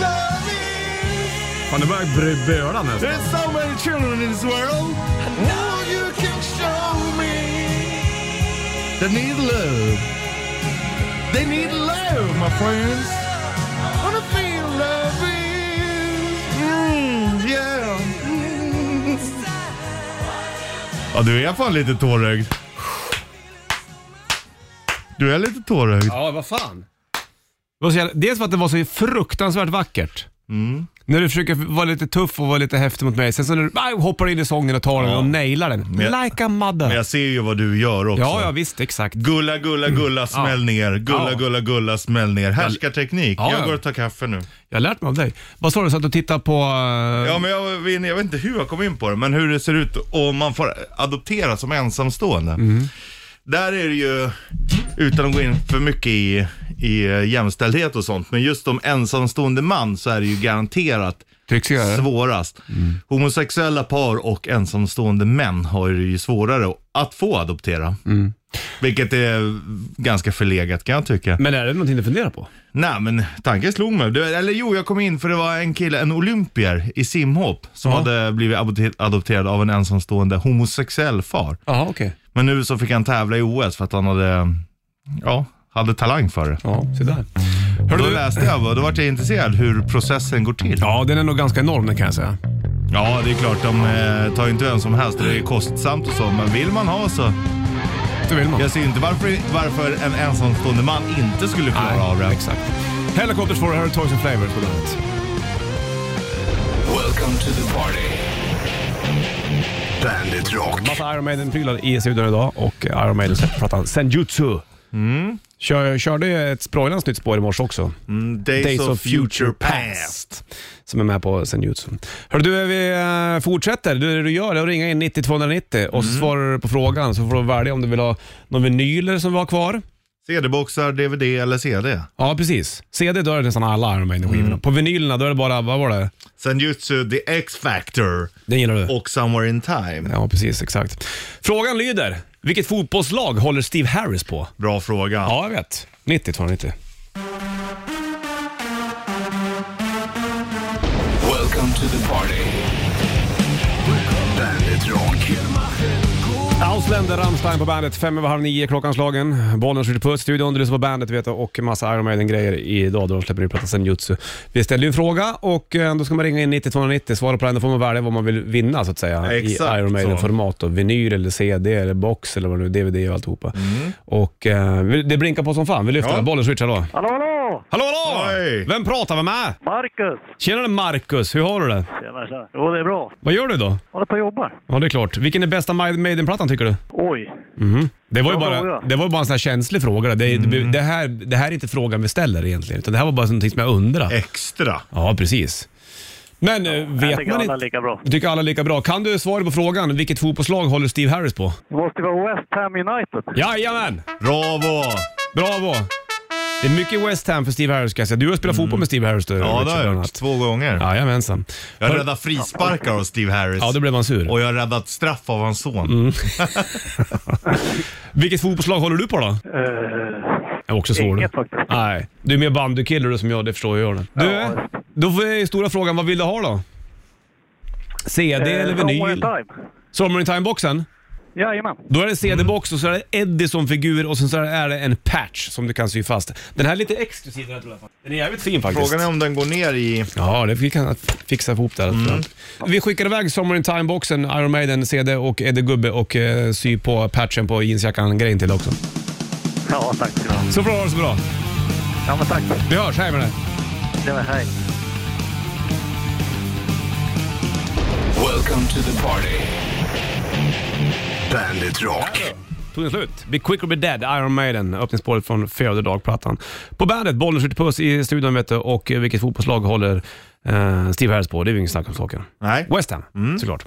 B: [laughs]
C: [laughs]
B: Fan, det börjar bry- böla nästan.
C: There's so many children in this world. Now you can show me. They need love. They need love, my friends. Wanna feel love is. Mm, yeah. Mm. [laughs] Ja, du är fan lite tårögd. Du är lite tårögd.
B: Ja, vad fan. Det var så jävla- Dels för att det var så fruktansvärt vackert.
C: Mm.
B: När du försöker vara lite tuff och vara lite häftig mot mig. Sen så när du aj, hoppar in i sången och tar den och nailar den.
C: jag-
B: like a
C: Men
B: mother.
C: jag ser ju vad du gör också.
B: Ja, ja visst. Exakt.
C: Gulla, gulla, gulla, smäll ner. Gulla,
B: Mm. Ja.
C: gulla, gulla, smäll ner. Härskarteknik.
B: Ja, ja.
C: Jag går och tar kaffe nu.
B: Jag har lärt mig av dig. Vad sa du? Så att du tittar på... eh,
C: Ja, men jag, var inne- jag vet inte hur jag kom in på det, men hur det ser ut om man får adoptera som ensamstående.
B: Mm.
C: Där är det ju, utan att gå in för mycket i, i eh, jämställdhet och sånt, men just om ensamstående man så är det ju garanterat
B: Trycksigare?
C: svårast.
B: Mm.
C: Homosexuella par och ensamstående män har det ju svårare att få adoptera.
B: Mm.
C: Vilket är ganska förlegat kan jag tycka.
B: Men är det någonting du funderar på?
C: Nej men tanken slog mig. Du, eller jo, jag kom in för det var en kille, en olympier i simhopp som
B: Ja.
C: hade blivit adopte- adopterad av en ensamstående homosexuell far.
B: Jaha, okej.
C: Men nu så fick han tävla i OS för att han hade, ja, hade talang för det.
B: Ja, se där.
C: Hörde då läste jag och då vart jag intresserad hur processen går till.
B: Ja, den är nog ganska enorm den kan jag säga.
C: Ja, det är klart de eh, tar ju inte vem som helst och det är kostsamt och så, men vill man ha så.
B: Det vill man.
C: Jag ser ju inte varför, varför en ensamstående man inte skulle klara av det.
B: exakt. Helicopters får det här är Toys and Flavors på bandet.
A: Welcome to the party.
E: Bandit Rock.
B: Massa Iron Maiden-prylar i studion idag och eh, Iron Maiden släpper plattan Senjutsu. Mm. Kör, körde ett sprojlans nytt spår i morse också.
C: Mm, Days, of, future past.
B: Som är med på Senjutsu. Hörru du, vi eh, fortsätter. Det du gör är att ringa in 90 290 och så
C: Mm.
B: svarar du på frågan så får du välja om du vill ha någon vinyler som vi har kvar.
C: CD-boxar, DVD eller CD?
B: Ja, precis. CD då är det nästan alla Iron Maiden-skivorna.
C: Mm.
B: På vinylerna då är det bara, vad var det?
C: Senjutsu, The X-Factor
B: Den gillar du?
C: och Somewhere In Time.
B: Ja, precis. Exakt. Frågan lyder, vilket fotbollslag håller Steve Harris på?
C: Bra fråga.
B: Ja, jag vet. 90 290.
A: Welcome to the party.
E: Bandit Rock.
B: Ausländer, Rammstein på bandet. Fem över halv nio klockanslagen. Bollen skjuter puss, studion, du lyssnar på bandet vet du, och massa Iron Maiden-grejer idag då de släpper ny plattan Senjutsu. Vi ställde ju en fråga och eh, då ska man ringa in 90 290, svara på den, då får man välja vad man vill vinna så att säga.
C: Exakt
B: I Iron
C: så.
B: Maiden-format då. Vinyl eller CD eller box eller vad det nu DVD och alltihopa. Och eh, vi- det blinkar på som fan. Vi lyfter
C: Mm. Ja.
B: den. Bollen switchar då.
H: Hallå, hallå!
B: Hallå, hallå!
C: Hej!
B: Vem pratar vi med?
H: Marcus!
B: Tjenare Marcus, hur har du det?
H: Tjena, tjena. Jo, det är bra.
B: Vad gör du då?
H: Håller på och jobbar.
B: Ja, det är klart. Vilken är bästa Ma- Maiden-plattan tycker du?
H: Oj.
B: Det var ju
H: Bra
B: bara,
H: fråga.
B: det var ju bara en sån här känslig fråga. då. Det,
C: Mm.
B: det, det, här, det här är inte frågan vi ställer egentligen, utan det här var bara någonting som jag
C: Eh.
B: undrar.
C: Extra.
B: Ja, precis. Men eh,
H: Jag
B: vet
H: tycker
B: man
H: alla är
B: inte...
H: lika bra.
B: Du tycker alla är lika bra. Kan du svara på frågan, vilket fotbollslag håller Steve Harris på?
H: Det måste vara West Ham United.
B: Jajamän!
C: Bravo!
B: Bravo! Det är mycket West Ham för Steve Harris kan jag säga. Du har spelat fotboll med Steve Harris du,
C: Mm. Ja, det
B: Richard,
C: har jag
B: bland
C: gjort.
B: annat.
C: Två gånger.
B: Jajamensan.
C: Jag har
B: Hör-
C: räddat frisparkar av Steve Harris.
B: Ja, då blev man sur.
C: Och jag har räddat straff av hans son.
B: Mm, Vilket fotbollslag håller du på då?
H: Eh,
B: Jag är också svår.
H: Inget faktiskt.
B: Nej, du är mer bandykille du som jag, det förstår jag. Det. Du, då är stora frågan, vad vill du ha då? CD
H: eh,
B: eller
H: Somewhere in
B: vinyl?
H: Time.
B: Summer in time-boxen?
H: Jajamän.
B: Då är det CD-box och så är det Eddie som figur och sen så är det en patch som du kan sy fast. Den här är lite exklusiv den här tror jag. Den är jävligt fin faktiskt.
C: Frågan är om den går ner i...
B: Ja, det vi kan fixa ihop där. Vi skickar iväg Summer in time-boxen, Iron Maiden, CD och Eddie Gubbe och eh, sy på patchen på jeansjackan-grejen till också.
H: Ja, tack. ska du ha.
B: Så får du ha det så bra.
H: Ja, men tack.
B: Vi hörs, hej med dig.
H: Det var hej.
A: Welcome to the party.
E: Bandit Rock.
B: Tog den slut? Be quick or be dead, Iron Maiden. Öppningsspåret från Fjärde dag-plattan. På bandet, bollen skjuter puss i studion vet du, och eh, vilket fotbollslag håller eh, Steve Harris på? Det är ju inget snack om saken.
C: Nej.
B: West Ham,
H: Mm.
B: såklart.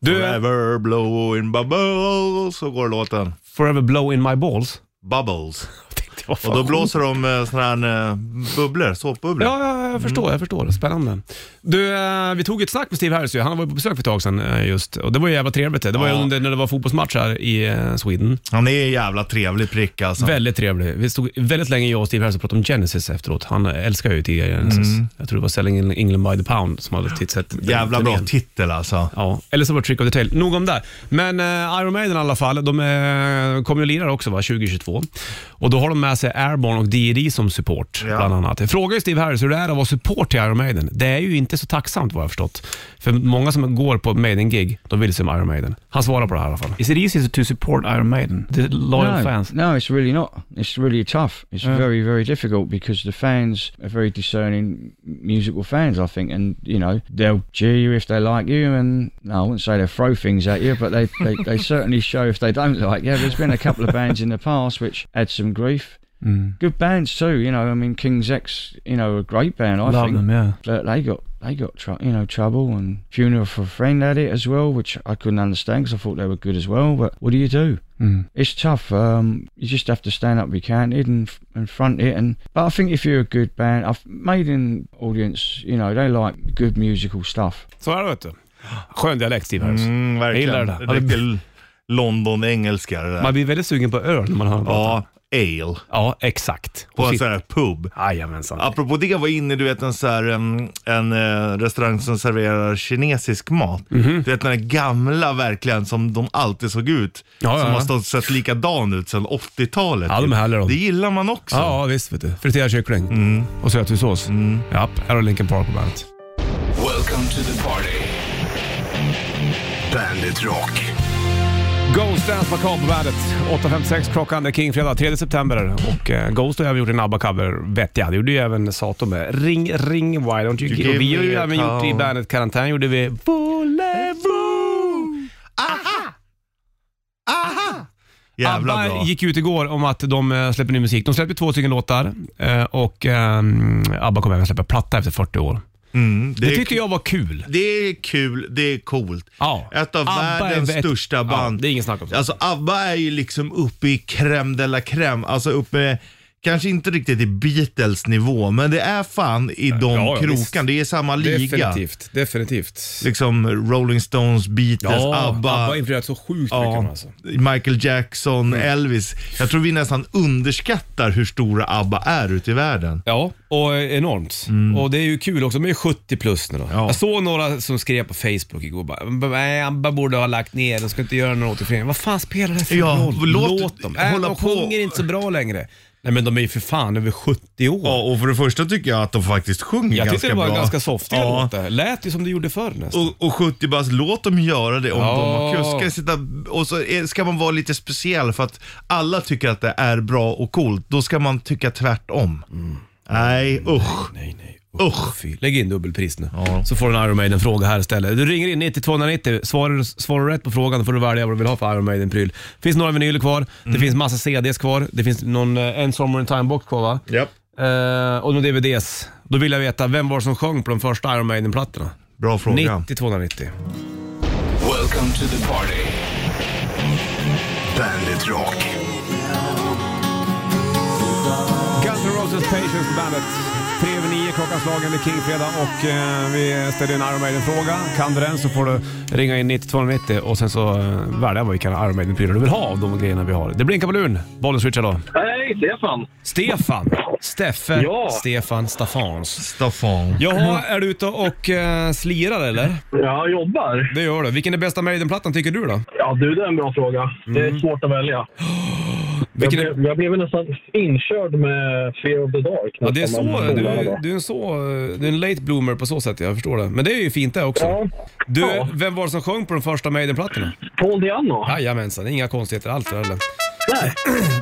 B: Du, Forever.
C: Forever blowing bubbles. Så går låten.
B: blow in my balls.
C: Bubbles.
B: Tänkte Vad fan
C: Och då
B: sjukt.
C: blåser de eh, såna här eh, bubblor, såpbubblor.
B: Ja, ja, ja, jag
C: Mm.
B: förstår. Jag förstår. Spännande. Du, eh, vi tog ett snack med Steve Harris ju. Han var ju på besök för ett tag sedan eh, just. Och det var ju jävla trevligt. Det Det var ju
C: Ja.
B: under när det var fotbollsmatch här i eh, Sweden.
C: Han är en jävla trevlig prick alltså.
B: Väldigt trevligt. Vi stod väldigt länge, jag och Steve Harris, och pratade om Genesis efteråt. Han älskar ju tidigare Genesis. Jag tror det var Selling England by the pound som hade tittat.
C: Mm. Jävla bra
B: turnén.
C: titel alltså.
B: Ja, eller så var det Trick of the Tail. Nog om det. Men eh, Iron Maiden i alla fall, de eh, kommer ju lira också va, 2022. Och då har de med sig Airborne och D&D som support
C: Ja.
B: bland annat. Jag frågar ju Steve Harris hur det är att vara support till Iron Maiden. Det är ju inte så tacksamt vad jag har förstått. För många som går på Maiden-gig, de vill se Iron Maiden. Han svarar på det här i alla fall.
I: Is it easy to support Iron Maiden? The loyal
K: no,
I: fans?
K: No, it's really not. It's really tough. It's
I: Yeah.
K: very, very difficult because the fans are very discerning musical fans, I think, and you know they'll cheer you if they like you, and no, I wouldn't say they throw things at you, but they
I: [laughs]
K: they, they certainly show if they don't like you. There's been a couple of bands in the past which had some grief.
I: Mm.
K: Good bands too, you know. I mean, King's X, you know, a great band. I
I: Love
K: think.
I: them, yeah.
K: But they got they got tr- you know trouble and funeral for a friend had it as well, which I couldn't understand because I thought they were good as well. But what do you do? It's tough. Um, you just have to stand up, be counted, and and front it. And but I think if you're a good band, I've made an audience. You know, they like good musical stuff.
B: Så är det vet du. Skön dialekt Steve Harris.
C: Mm,
B: Jag
C: verkligen.
B: gillar det där.
C: Riktig London-engelska det där.
B: Man blir väldigt sugen på öl när man hör honom prata.
C: ja, ale.
B: Ja, exakt.
C: På en
B: shit.
C: sån här pub.
B: Jajamensan.
C: Apropå det var jag inne du vet en, så här, em, en, eh, restaurang som serverar kinesisk mat.
B: Mhm.
C: Du vet den här gamla verkligen som de alltid såg ut.
B: Ja, ja,
C: som
B: ja.
C: har stått, sett likadan ut sedan 80-talet.
B: Ja, de är härliga, de.
C: Det gillar man också.
B: Ja, ja, visst vet du. Friterad kyckling
C: Mm.
B: och söthussås. Japp, här har Linkin Park på bandet.
A: Welcome to the party.
E: Bandit Rock.
B: Ghost Dance Macabre på bandet. 8.56 klockan, det är Kingfredag 3 september. Och eh, Ghost har även gjort en ABBA-cover, vet jag. Det gjorde ju även Sato med. Ring, ring, why don't you,
C: You
B: give
C: give
B: Och Vi har
C: me
B: ju
C: a
B: även gjort i
C: call.
B: bandet Karantän, gjorde vi Volevo.
C: Jävla
B: ABBA
C: bra.
B: gick ut igår om att de eh, släpper ny musik. De släppte två stycken låtar eh, och ehm, ABBA kommer även släppa platta efter 40 år.
C: Mm, det,
B: Det
C: är,
B: tyckte jag var kul.
C: det är kul, det är coolt.
B: Ja.
C: Ett av
B: ABBA är
C: världens
B: ett-
C: största band.
B: Ja, det är ingen snack om det.
C: Alltså ABBA är ju liksom uppe i crème de la crème. Alltså uppe, kanske inte riktigt i Beatles nivå, men det är fan i de
B: ja,
C: krokarna.
B: visst.
C: Det är samma liga.
B: Definitivt, definitivt.
C: Liksom Rolling Stones, Beatles, ABBA.
B: har influerat så sjukt mycket
C: Ja,
B: alltså. Mm.
C: Michael Jackson, Elvis. Jag tror vi nästan underskattar hur stora ABBA är ute i världen.
B: Ja, och eh, enormt. Och det är ju kul också, de är ju 70 plus nu då.
C: Mm. Ja.
B: Jag såg några som skrev på Facebook igår bara, "B- nej ABBA borde ha lagt ner, de ska inte göra några återföreningar. Vad fan spelar det för
C: Ja,
B: roll?
C: låt-
B: dem.
C: hålla
B: Äh, de
C: på.
B: sjunger inte så bra längre. Nej men de är ju för fan över 70 år.
C: Ja, och för det första tycker jag att de faktiskt sjunger
B: Jag
C: ganska
B: tyckte det
C: bra.
B: var ganska softiga
C: Ja.
B: låtar. Lät ju som det gjorde förr nästan.
C: Och, och 70 bast, låt dem göra det om
B: Ja.
C: de har kul. Ska jag sitta, och så är- ska man vara lite speciell för att alla tycker att det är bra och coolt. Då ska man tycka tvärtom.
B: Mm.
C: Nej, usch.
B: Nej, nej.
C: Usch.
B: Fy. Lägg in dubbelpris nu. Så får du en Iron Maiden-fråga här istället. Du ringer in 9290. Svarar, svarar du rätt på frågan då får du välja vad du vill ha för Iron Maiden-pryl. finns några vinyler kvar. Det finns massa CDs kvar. Det finns någon, eh, en Summer in Time-box kvar va?
C: Japp.
B: Eh, och några DVDs. Då vill jag veta, vem var det som sjöng på de första Iron Maiden-plattorna?
C: Bra fråga.
B: 9290.
A: Welcome to the party.
E: Bandit Rock.
B: Guns N' Roses Patience på bandet. Tre över nio klockan slagen, det är Kingfredag och eh, vi ställer en Iron Maiden-fråga. Kan du den så får du ringa in 9290 och sen så eh, välja vilka Iron Maiden-prylar du vill ha av de grejerna vi har. Det blinkar på luren. Bollen switchar då.
J: Hej, Stefan!
B: Stefan. Steffe.
J: Ja.
B: Stefan Staffans.
C: Staffan.
B: Jaha, är du ute och eh, slirar eller?
J: Jag jobbar.
B: Det gör du. Vilken är bästa Maiden-plattan tycker du då?
J: Ja, du, det är en bra fråga. Det är svårt att välja.
B: [gasps]
J: Jag
B: Vilken Mm. är...
J: blev, jag blev nästan inkörd med Fear of the Dark.
B: Ja, det är så,
J: nästan, men-
B: du, du är en så, eh, du är en late bloomer på så sätt, jag förstår det. Men det är ju fint det också.
J: Ja,
B: Du,
J: Ja.
B: vem var det som sjöng på de första Maiden-plattorna?
J: Paul Diano.
B: Jajamensan, inga konstigheter alls heller.
J: Nej.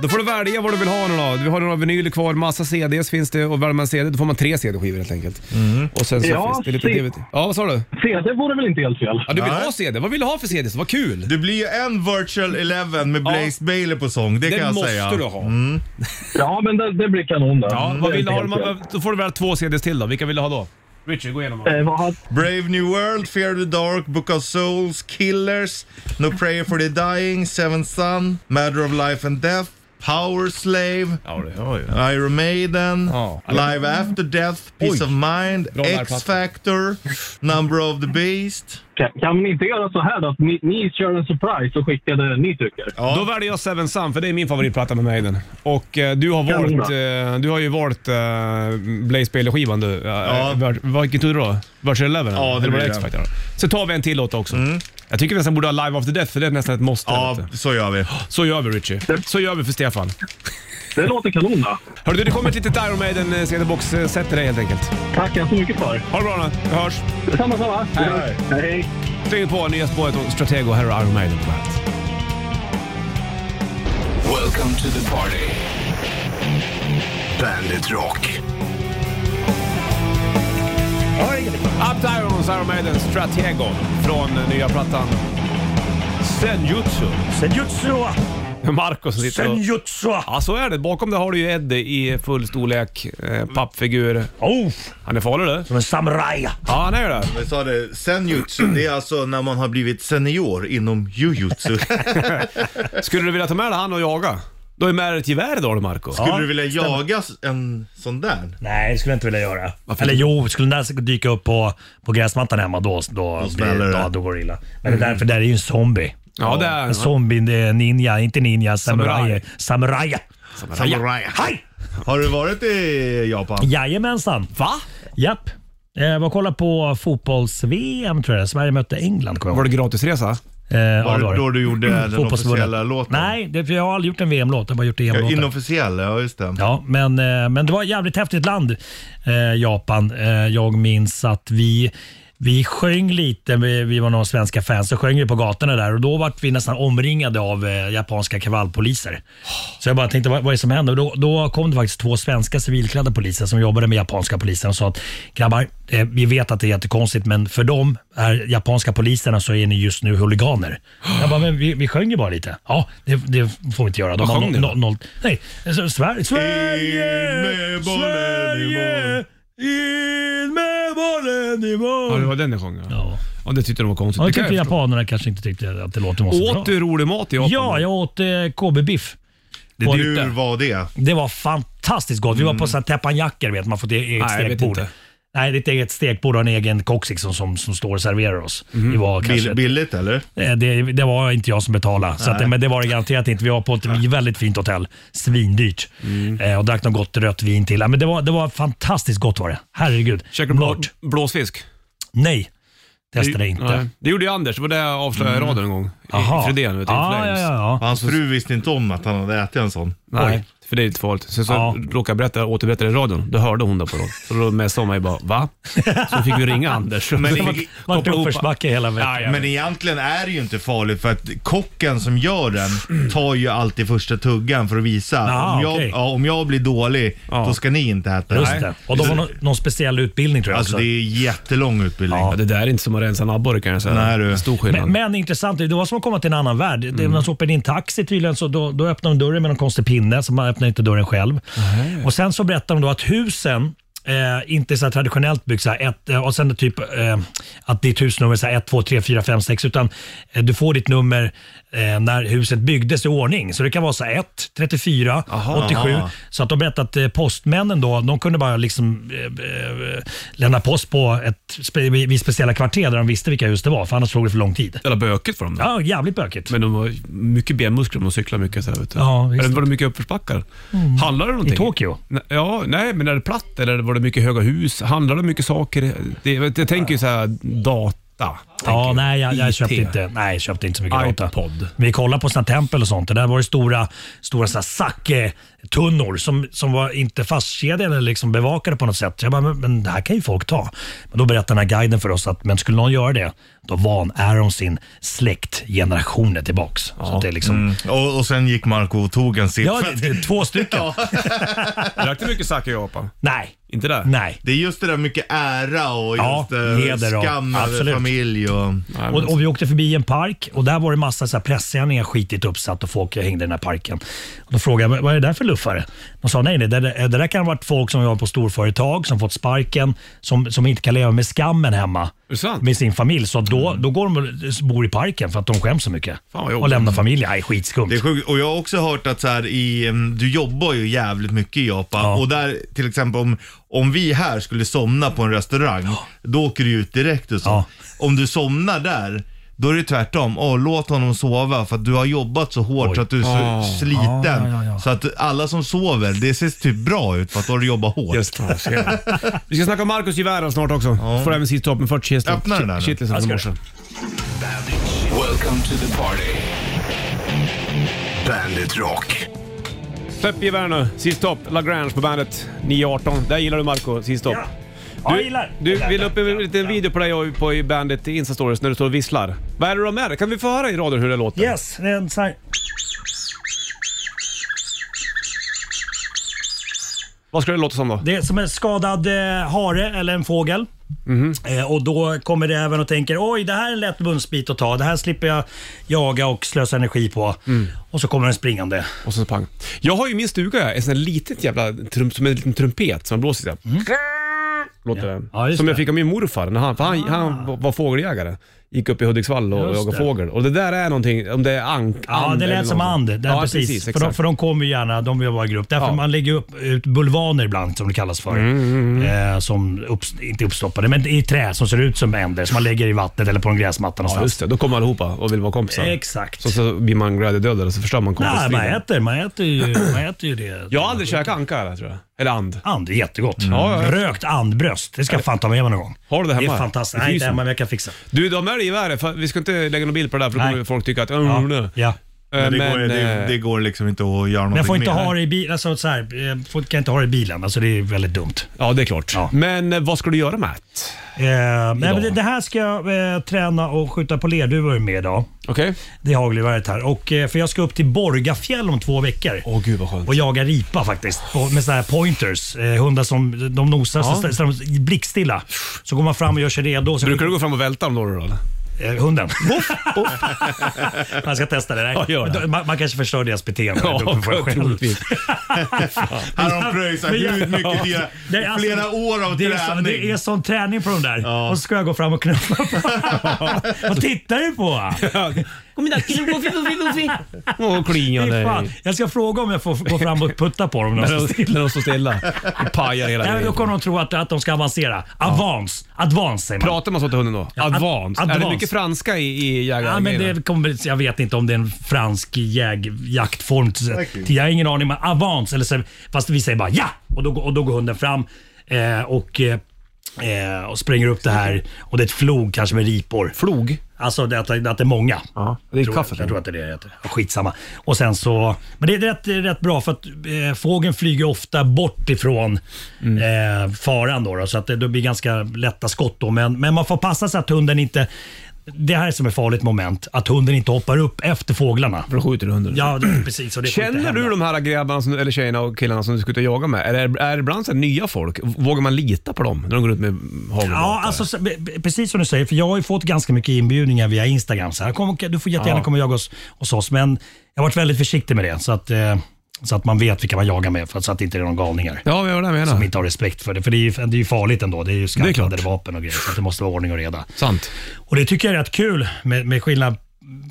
B: Då får du välja vad du vill ha nu då. Vi har några vinyler kvar, massa CDs finns det och väljer man CD då får man tre CD-skivor helt enkelt.
C: Mm.
B: Och sen så
J: Ja,
B: finns det lite
J: se-
B: DVD. Ja, vad sa du?
J: CD vore väl inte helt fel?
B: Ja, du vill
C: Nej.
B: ha CD. Vad vill du ha för CD? Vad kul!
C: Det blir ju en virtual eleven med Blaze Bailey på sång, det,
B: Det
C: kan jag
B: måste
C: säga. Mm.
B: du ha.
J: Ja, men det, det blir kanon det.
B: Ja, vad
J: Det är
B: vill du ha?
J: inte helt fel.
B: Man- Då får du välja två CDs till då. Vilka vill du ha då? Richard, gå igenom.
J: Eh, vad hade-
C: Brave New World, Fear of the Dark, Book of Souls, Killers, No Prayer for the Dying, Seventh Son, Matter of Life and Death, Power Slave, Iron Maiden, Live After Death, Peace of Mind,
L: Bra
C: X
L: lärplatta.
C: Factor, Number of the Beast.
L: Kan, kan ni inte göra så här då? Att Ni, ni kör en surprise och skickar det ni tycker.
B: Då väljer jag Seven Sun, för det är min favoritplatta med Maiden. Och eh, du har
L: Kanon.
B: valt, eh, du har ju valt eh, Blaze Bailey-skivan du. Ja. Vilken tur då? Virtual Eleven? eller?
C: Ja, det
B: Eller var
C: blir
B: X
C: den.
B: Factor? Så tar vi en till låt också. Jag tycker vi nästan borde ha Live After Death, för det är nästan ett måste.
C: Ja,
B: vet du.
C: så [gasps] gör vi.
B: Så gör vi Richie. Så gör vi för Stefan.
L: Det låter kanon då.
B: Hörru du, det kommer ett litet Iron Maiden eh, CD-box-set till dig helt enkelt.
L: Tackar så mycket för.
B: Ha det bra nu. Vi hörs.
L: Detsamma, samma.
B: Hej. Hej. Släng på nya spåret och Stratego. Här är Iron Maiden på bandet.
A: Welcome to the party.
E: Bandit Rock.
B: Up to Irons, Iron Maiden, Stratego från eh, nya plattan Senjutsu. Senjutsu! Marco som sitter och... Senjutsu! Ja, så är det. Bakom det har du ju Eddie i full storlek, eh, pappfigur. Oh. Han är farlig du. Som en samuraj. Ja, han är det.
C: Vi sa det, senjutsu, det är alltså när man har blivit senior inom [laughs] jujutsu.
B: Skulle du vilja ta med dig han och jaga? Du har ju med dig ett gevär idag då, Marco.
C: Skulle du vilja jaga s- en sån där?
M: Nej, det skulle jag inte vilja göra. Eller jo, skulle den där dyka upp på, på gräsmattan hemma då, då, då,
C: smäller
M: blir,
C: det.
M: då, då går det Mm. illa. Men det där, för det där är ju en zombie.
B: Ja, det är han.
M: En zombie, det är ninja, inte ninja,
C: Samurai.
M: samurajer. Samurajer.
C: Samurai.
M: Hej!
C: Har du varit i Japan?
M: Jajamensan. Va? Japp. Jag var och kollade på fotbolls-VM tror jag. Sverige mötte England. Var
B: det gratisresa?
M: Eh,
C: Var
M: ja,
C: det
M: det.
C: då du gjorde den
M: Fotbollsförbundet.
C: officiella låten?
M: Nej, det, för jag har aldrig gjort en VM-låt. Jag har bara gjort
C: Ja,
M: EM-låtar.
C: inofficiell, ja just det.
M: Ja, men, eh, men det var ett jävligt häftigt land, eh, Japan. Eh, jag minns att vi vi sjöng lite, vi, vi var några svenska fans, så sjöng vi på gatorna där och då var vi nästan omringade av eh, japanska kravallpoliser. Så jag bara tänkte, vad, vad är det som händer? Och Då, då kom det faktiskt två svenska civilklädda poliser som jobbade med japanska polisen och sa att grabbar, eh, vi vet att det är jättekonstigt men för de här japanska poliserna så är ni just nu huliganer. Jag bara, men vi, vi sjöng ju bara lite. Ja, det, det får vi inte göra.
C: Vad
M: har
C: sjöng
M: no-
C: ni då?
M: no- noll- Nej, så- Sverige,
C: In med bollen i mål.
M: In med bollen i mål.
B: Ja, det var den du sjöng
M: ja.
B: Ja, det tyckte de var konstigt.
M: Ja,
B: Det
M: jag
B: kan
M: tyckte
B: jag förstå.
M: japanerna kanske inte tyckte att det låter var så bra.
B: Åt du rolig mat i Japan?
M: Ja, jag åt eh, KB-biff.
B: Det-
M: På-
B: hur
C: var det?
M: Det var fantastiskt gott. Vi var på
B: Mm.
M: sån här teppanyaki, vet man får ett e-,
B: Nej, jag
M: eget
B: vet
M: stekbord.
B: inte.
M: Nej, det är ett eget stekbord och en egen kock liksom, som, som står och serverar oss.
C: Mm.
M: Det var
C: Bill-
M: kanske ett-
C: billigt eller?
M: Eh, Det, det var inte jag som betalade, så
C: Nej.
M: att, men det var det garanterat inte. Vi var på ett väldigt fint hotell, svindyrt,
C: Mm.
M: eh, och drack något gott rött vin till. Ja, Men det, var, det var fantastiskt gott var det. Herregud.
B: Käkade du blå, blåsfisk?
M: Nej, testade
B: Det-
M: inte.
B: nej. Det gjorde ju Anders. Det var det jag avslöjade i
C: Mm.
B: radion en gång. I-
M: Aha. Ah,
B: I Fredén, vet du, i Flames.
C: Hans
M: Alltså,
C: fru visste inte om att han hade ätit en sån.
B: Nej, för det är lite farligt. Sen så
C: Ja.
B: råkade jag berätta, återberätta det i radion. Då hörde hon det på radion. Så då messade hon mig bara va? Så fick vi ringa Anders.
C: Men det-
B: Koppla ihop- Ja, ja.
C: Men egentligen är det ju inte farligt för att kocken som gör den tar ju alltid första tuggan för att visa.
M: Ah,
C: om, jag,
M: okej.
C: ja, om jag blir dålig, då ska ni inte äta
M: Just
C: den.
M: det. Och de har någon, någon speciell utbildning tror jag
C: Alltså
M: också.
C: det är jättelång utbildning.
B: Ja, det där är inte som att rensa en abborre kan jag säga.
C: Nej, du.
B: Stor skillnad.
M: Men, men intressant, det var som att komma till en annan värld. Det- När man hoppade in i en taxi tydligen så då, då öppnade de dörren med någon konstig pinne, så man öppnade inte dörren själv. Och Sen så berättade de då att husen Eh, inte är så här traditionellt byggt, så här ett, eh, och sen typ eh, att ditt husnummer är så här 1, 2, 3, 4, 5, 6, utan eh, du får ditt nummer eh, när huset byggdes i ordning. Så det kan vara så här 1, 34,
C: Aha.
M: 87. Så att de berättade att eh, postmännen då, de kunde bara liksom eh, eh, lämna post på ett spe, vid speciella kvarter där de visste vilka hus det var, för annars tog det för lång tid.
B: Jävla bökigt för dem.
M: Ja, jävligt bökigt.
B: Men de har mycket benmuskler, de cyklar mycket. Så här, vet du.
M: Ja, visst.
B: eller var det mycket uppförsbackar?
M: Mm.
B: Handlar det någonting?
M: I Tokyo?
B: N- Ja, nej, men är det platt eller var det mycket höga hus? Handlar det mycket saker? Det, jag tänker ju så här data.
M: Ja, nej, jag, jag
B: IT.
M: köpte inte, nej, jag köpte inte så mycket data.
B: iPod.
M: Vi kollade på såna tempel och sånt. Det där var det stora, stora såna Eh, sake-tunnor som, som var inte fastkedjade eller liksom bevakade på något sätt. Så jag bara, men, men det här kan ju folk ta. Men då berättade den här guiden för oss att men skulle någon göra det, då vanär de sin släkt generationer tillbaks. Så att det är liksom,
C: Mm. Och, och sen gick Marco och tog en sitt.
M: Ja, det- det- två stycken.
B: Drack du mycket sake i Japan?
M: Nej.
B: Inte det?
M: Nej.
C: Det är just det där mycket ära och
M: Ja,
C: just eh,
M: heder och-
C: skam över
M: absolut.
C: familj och...
M: Och, och vi åkte förbi en park och där var det massa så här pressändningar skitigt uppsatt och folk hängde i den här parken. Och då frågade jag vad är det där för luffare? De sa nej, nej det, det där kan ha varit folk som jobbar på storföretag, som fått sparken, som, som inte kan leva med skammen hemma.
J: med sin familj. Så då, då går de och bor i parken för att de skäms så mycket. och lämnar familjen. Nej, skitskumt.
C: Det är sjukt. Och jag har också hört att så här, i, em, du jobbar ju jävligt mycket i Japan. Och där till exempel om, om vi här skulle somna på en restaurang, då åker du ut direkt och så. Om du somnar där, då är det tvärtom. Åh, låt honom sova för att du har jobbat så hårt så att du är så
N: Ah.
C: sliten.
N: Ah, ja, ja.
C: Så att alla som sover, det ser typ bra ut för att då har du jobbat hårt. Just
B: Vi ska snacka om Marcus Givär snart också. Får även sitt topp med 40 hästar.
C: Öppna den där nu.
B: Kittelsen
C: Jag
B: från
C: ska
B: morse.
E: Welcome to the party. Bandit Rock.
B: Släpp Givär nu. Sist topp. Lagrange på bandet. 9.18. Där gillar du Marco. Sist topp.
J: Ja,
B: Du,
J: jag gillar.
B: du vi la upp en liten video på dig och på i bandet i Insta-stories när du står och visslar. Vad är det de är? Kan vi få höra i radio hur det låter?
J: Yes, det är en sån här...
B: Vad ska det låta som då?
J: Det är som en skadad eh, hare eller en fågel.
C: Mhm.
J: Eh, och då kommer det även och tänker oj det här är en lätt bundsbit att ta. Det här slipper jag jaga och slösa energi på.
C: Mm.
J: Och så kommer den springande.
B: Och så pang. Jag har ju i min stuga jag, ett sånt här litet jävla trum, som en liten trumpet som blåser sådär.
J: Mm.
B: Låter den. som jag fick av min morfar, när han, för han, han var fågeljägare. Gick upp i Hudiksvall och
J: Ah. Just
B: jagade
J: det.
B: fågel. Och det där är någonting, om det är ank,
J: Ja,
B: and
J: det
B: eller
J: lät som and.
B: någonting.
J: Där,
B: ja,
J: precis. för, de,
B: exakt.
J: för de kommer ju gärna, de vill vara i grupp. Därför man lägger upp, eh, ut bulvaner ibland som det kallas för.
B: Mm,
J: Eh, som upps- inte uppstoppade, men i trä som ser ut som änder som man lägger i vattnet eller på en gräsmatta
B: Ja,
J: någonstans.
B: just det. Då kommer allihopa och vill vara kompisar.
J: Exakt.
B: Så, så blir man glädjedödad och så förstör man
J: Nej, Äh, man
B: kompisstriden.
J: äter, man äter ju,
B: [clears throat]
J: man äter ju det.
B: Jag har aldrig käkat anka här, tror jag. Eller and.
J: And är jättegott.
B: Ja, ja.
J: Rökt andbröst. Det ska jag fan ta med mig någon gång.
B: Har du det hemma?
J: Det är fantastiskt.
B: I
J: Nej, inte
B: frysen?
J: hemma, men jag kan fixa.
B: Du, de är i världen. för Vi ska inte lägga någon bild på det där för då
J: Nej.
B: kommer folk tycka att...
J: Ja.
B: "Åh,
J: Ja.
C: Men det, går,
B: Men,
C: det,
B: eh,
C: det går liksom inte att göra någonting
J: Men jag får inte
C: mer.
J: ha det i bilen. Alltså, så här, eh, folk kan inte ha det i bilen. Alltså, det är väldigt dumt.
B: Ja, det är klart. Men eh, vad ska du göra Matt?
J: Eh, nej, men
B: Idag.
J: det, det här ska jag eh, träna och skjuta på lerduvor med idag.
B: Okej.
J: Det är hagelgeväret här. Och, eh, för jag ska upp till Borgafjäll om två veckor.
B: Åh gud vad skönt.
J: Och jaga ripa faktiskt. På, med sådana här pointers. Eh, hundar som de nosar
B: Ja.
J: så, stä- så de
B: Ah,
J: blickstilla. Så går man fram och gör sig redo. Så
B: Brukar du gå fram och välta dem då? då?
J: Eh, hunden. man ska testa det. Nej.
B: Ja, gör det.
J: Men då- Man, man kanske förstör deras beteende.
B: Ja,
J: Då får jag själv.
B: troligtvis.
C: Här har de pröjsat
J: Men jag-
C: hur mycket
J: Ja.
C: dina,
J: Det är alltså-
C: flera år av
J: det är
C: träning.
J: Så, det är sån träning på de där. Och så ska jag gå fram och knuffa på Vad tittar du på? Kom igen, killen. Wuffi, wuffi, wuffi.
B: Och klingar
J: Fy fan.
B: dig.
J: Jag ska fråga om jag får gå fram och putta på dem när de står stilla.
B: När de står stilla. Det pajar hela
J: Nej,
B: grejen.
J: då kommer de tro att, att de ska avancera. Avance. Advance säger man.
B: Pratar man så till hunden då?
J: Ja, ad-
B: Advanced. Är det
J: advanced.
B: mycket franska i, i jägarna?
J: Ja, men det kommer, jag vet inte om det är en fransk jäg, jaktform.
B: Okej.
J: Jag har ingen aning. Men avance, eller så, fast vi säger bara ja! Och då, går- och då går hunden fram eh, och, eh, eh, och spränger upp det här. Och det är ett flog kanske med ripor.
B: Flog?
J: Alltså det, att, det- att det är många.
B: det är
J: tror,
B: kaffe,
J: jag, jag tror att det är det det heter. Ja, Skitsamma. Och sen så, men det är rätt, det är rätt bra för att eh, fågeln flyger ofta bort ifrån eh, faran. Då, då, så att det, det blir ganska lätta skott. Då, men, men man får passa sig att hunden inte det här är som är farligt moment, att hunden inte hoppar upp efter fåglarna. För
B: då skjuter du hunden.
M: [clears throat]
J: Ja, det, precis. Och det får inte
B: Känner
J: hända.
B: du de här grabbarna, som, eller tjejerna och killarna som du ska ut och jaga med? Är det, är det ibland så här nya folk? Vågar man lita på dem när de går ut med hagelbåtar?
J: Ja, alltså, så- be- be- precis som du säger, för jag har ju fått ganska mycket inbjudningar via Instagram. Så här, kom, du får jättegärna
B: Ja.
J: komma och jaga hos, hos oss, men jag har varit väldigt försiktig med det. Så att, eh, så att man vet vilka man jagar med, för att, så att det inte är någon galningar.
B: Ja, men jag menar.
J: Som inte har respekt för det. För det är ju, det är ju farligt ändå. Det är ju
B: Det är klart.
J: skarpladdade vapen och grejer. Så att det måste vara ordning och reda.
B: Sant.
J: Och det tycker jag är rätt kul med, med skillnad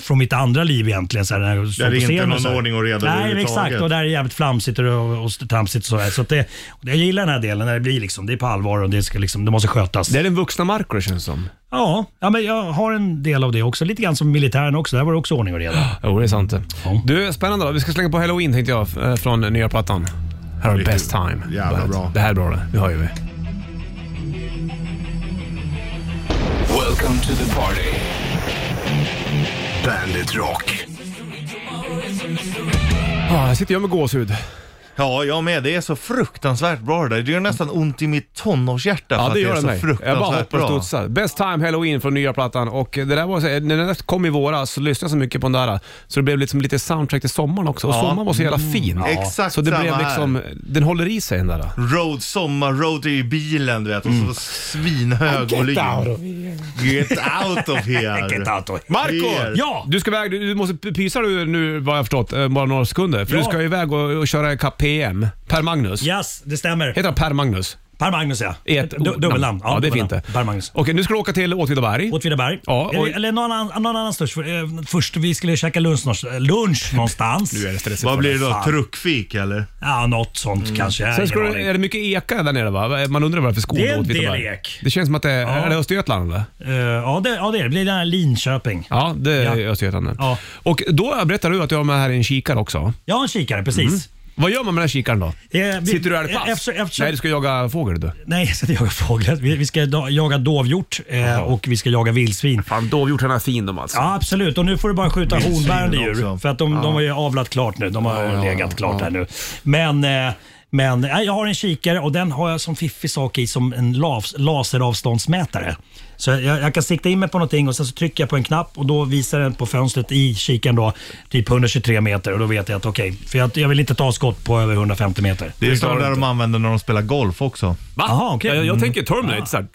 J: från mitt andra liv egentligen. Så här, när jag såg
C: är
J: på
C: inte
J: scenen
C: någon
J: så här.
C: ordning och reda
J: Nej,
C: överhuvudtaget.
J: exakt. Och där är det jävligt flamsigt och, och tramsigt. Och så här. Så att det, jag gillar den här delen när det blir liksom, det är på allvar och det, ska liksom, det måste skötas.
B: Det är den vuxna Marco det känns som.
J: Ja, ja men jag har en del av det också. Lite grann som militären också. Där var det också ordning och reda.
B: Jo, det är sant det. Du, spännande då. Vi ska slänga på Halloween tänkte jag, eh, från nya plattan. Här har vi Best Time.
C: Jävla
B: Bandet.
C: bra.
B: Det här är bra det. Nu hör ju vi.
E: Welcome to the party. Bandit Rock.
B: Ah, här sitter jag med gåshud.
C: Alltså, Ja, jag med. Det är så fruktansvärt bra det där. Det gör nästan ont i mitt tonårshjärta för
B: Ja,
C: att
B: det
C: det
B: gör
C: är
B: det
C: så
B: mig. Jag
C: fruktansvärt
B: bara hoppar och
C: bra.
B: studsar. Best time halloween från nya plattan. Och det där var så, när den där kom i våras så lyssnade jag så mycket på den där så det blev liksom lite soundtrack till sommaren också. Och
C: Ja.
B: sommaren var så jävla
C: Mm.
B: fin.
C: Ja. Exakt
B: så det blev
C: samma här.
B: liksom, Den håller i sig den där.
C: Road, sommar-road i bilen du vet och så svinhög
B: Mm. Get
C: volym.
B: out of
C: Get out of here.
B: [laughs]
J: Get out of
B: Marco!
C: Here.
B: Du ska iväg, du du måste p- pysa du nu vad jag har förstått, eh, bara några sekunder. För
J: Ja.
B: du ska iväg och, och köra ikapp PM. Per Magnus.
J: Yes, det stämmer.
B: Heter han Per Magnus?
M: Per Magnus ja.
B: I ett
M: Du- dubbelnamn.
B: Ja, det är
M: dubbelnamn.
B: fint det.
M: Per Magnus.
B: Okej, nu ska du åka till Åtvidaberg.
M: Åtvidaberg.
B: Ja, och...
M: Eller, eller någon annan, någon annan först. Eh, Först vi skulle käka lunch, någonstans- lunch någonstans.
B: Nu är det stressigt
C: Vad
B: för
C: blir det
B: dig.
C: då? Mm.
B: Fan.
C: Truckfik eller?
M: Ja, något sånt kanske.
B: Sen ska
M: Ingen
B: du,
M: aning.
B: är det mycket eka där nere va? Man undrar varför skog
M: Det är en del
B: Åtvidaberg.
M: ek.
B: Det känns som att det är, är det Östergötland eller?
M: Eh, ja, det, ja, det är det. blir det här Linköping.
B: Ja, det är
M: Ja.
B: Östergötland. Ja. Och då berättar du att du har med här en kikare också.
M: Ja, en kikare, precis.
J: Mm.
B: Vad gör man med den här kikaren då?
M: Eh, vi-
B: Sitter du här i pass?
M: eh, efter- efter-
B: Nej, du ska jaga fågel du.
M: Nej, jag ska inte jaga fåglar. Vi, vi ska da- jaga dovhjort eh, och vi ska jaga vildsvin.
B: Fan, dovhjorten är fin de alltså.
M: Ja, absolut. Och nu får du bara skjuta
B: Vildsvin
M: hornbärande djur.
B: också.
M: För att de,
B: Ja.
M: de har ju avlat klart nu. De har legat klart här nu. Men, eh, men nej, jag har en kikare och den har jag som fiffig sak i som en las, laseravståndsmätare. Så jag, jag kan sikta in mig på någonting och sen så trycker jag på en knapp och då visar den på fönstret i kikaren då typ 123 meter och då vet jag att okej, för jag, jag vill inte ta skott på över 150 meter.
C: Det är sådana där de använder när de spelar golf också.
B: Va?
M: Jaha, okej.
B: Jag, jag
M: Mm.
B: tänker Terminator såhär.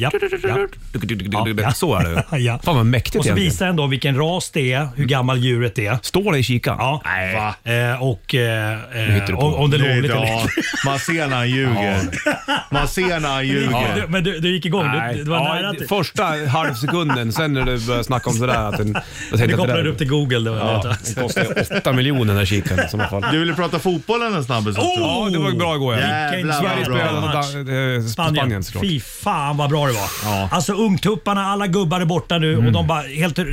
M: Ja, ja, ja.
B: Så är det ju.
M: [laughs] ja.
B: Fan vad mäktigt
M: Och så
B: egentligen.
M: visar den då vilken ras det är, hur gammal djuret är.
B: Står det i kikaren?
M: Ja. Eh, och eh, eh,
C: hittar du på.
M: om, om det låg
C: Nej,
M: lite
C: ja.
M: läckert.
C: [laughs] Man ser när han ljuger. Man ser när han
M: Ja.
C: ljuger.
M: Du- Men du, du gick igång. Du,
B: Nej.
M: du var
B: Ja,
M: nära att...
B: i- Första halvsekunden, sen när du började snacka om sådär. Att den, jag
M: Du kopplade upp till Google. Det var
B: Ja,
M: det.
B: den kostar ju 8 miljoner den här kikaren i sådana fall.
C: Du ville prata fotboll en snabbis också.
B: Oh! Ja, det var bra igår. Ja.
C: Jävlar,
B: Sverige
C: vad bra.
B: spelade mot Dan- eh,
M: Spanien.
B: Spanien såklart.
M: Fy fan vad bra det var. Alltså ungtupparna, alla gubbar är borta nu
B: Mm.
M: och de bara helt eh,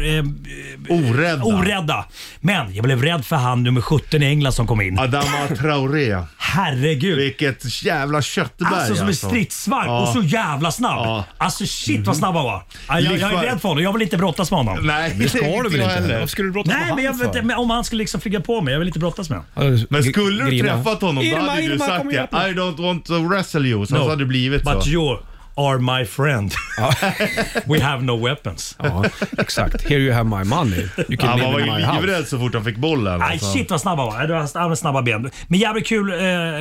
C: orädda.
M: orädda. Men jag blev rädd för han nummer 17 i England som kom in.
C: Adama Traoré.
M: Herregud.
C: Vilket jävla köttberg
M: Alltså som en stridsvagn
C: Ja.
M: och så jävla snabb. Alltså shit vad snabb han var. Ja, Jag, jag är
C: Likvar-
M: rädd för honom. Jag vill inte brottas med honom.
C: Nej,
B: Det ska du väl inte heller? Varför skulle du brottas
M: Nej,
B: med
M: men jag
B: han
M: vet
B: för?
M: inte, men Om han skulle liksom flyga på mig. Jag vill inte brottas med honom.
C: Men skulle du
M: Grina.
C: träffat honom då
M: Irma,
C: hade du
M: Irma,
C: sagt
M: kom
C: det.
M: igen.
C: I don't want to wrestle you. Så
M: No,
C: hade hade det blivit så.
M: But you are my friend. [laughs] We have no weapons.
B: Ja, exakt. Here you have my money. You can
C: Han
B: live
C: var
B: in
C: ju
B: my house.
C: livrädd så fort han fick bollen.
M: Aj,
C: alltså.
M: shit vad snabb han var. Ja, du har- Han har snabba ben. Men jävligt kul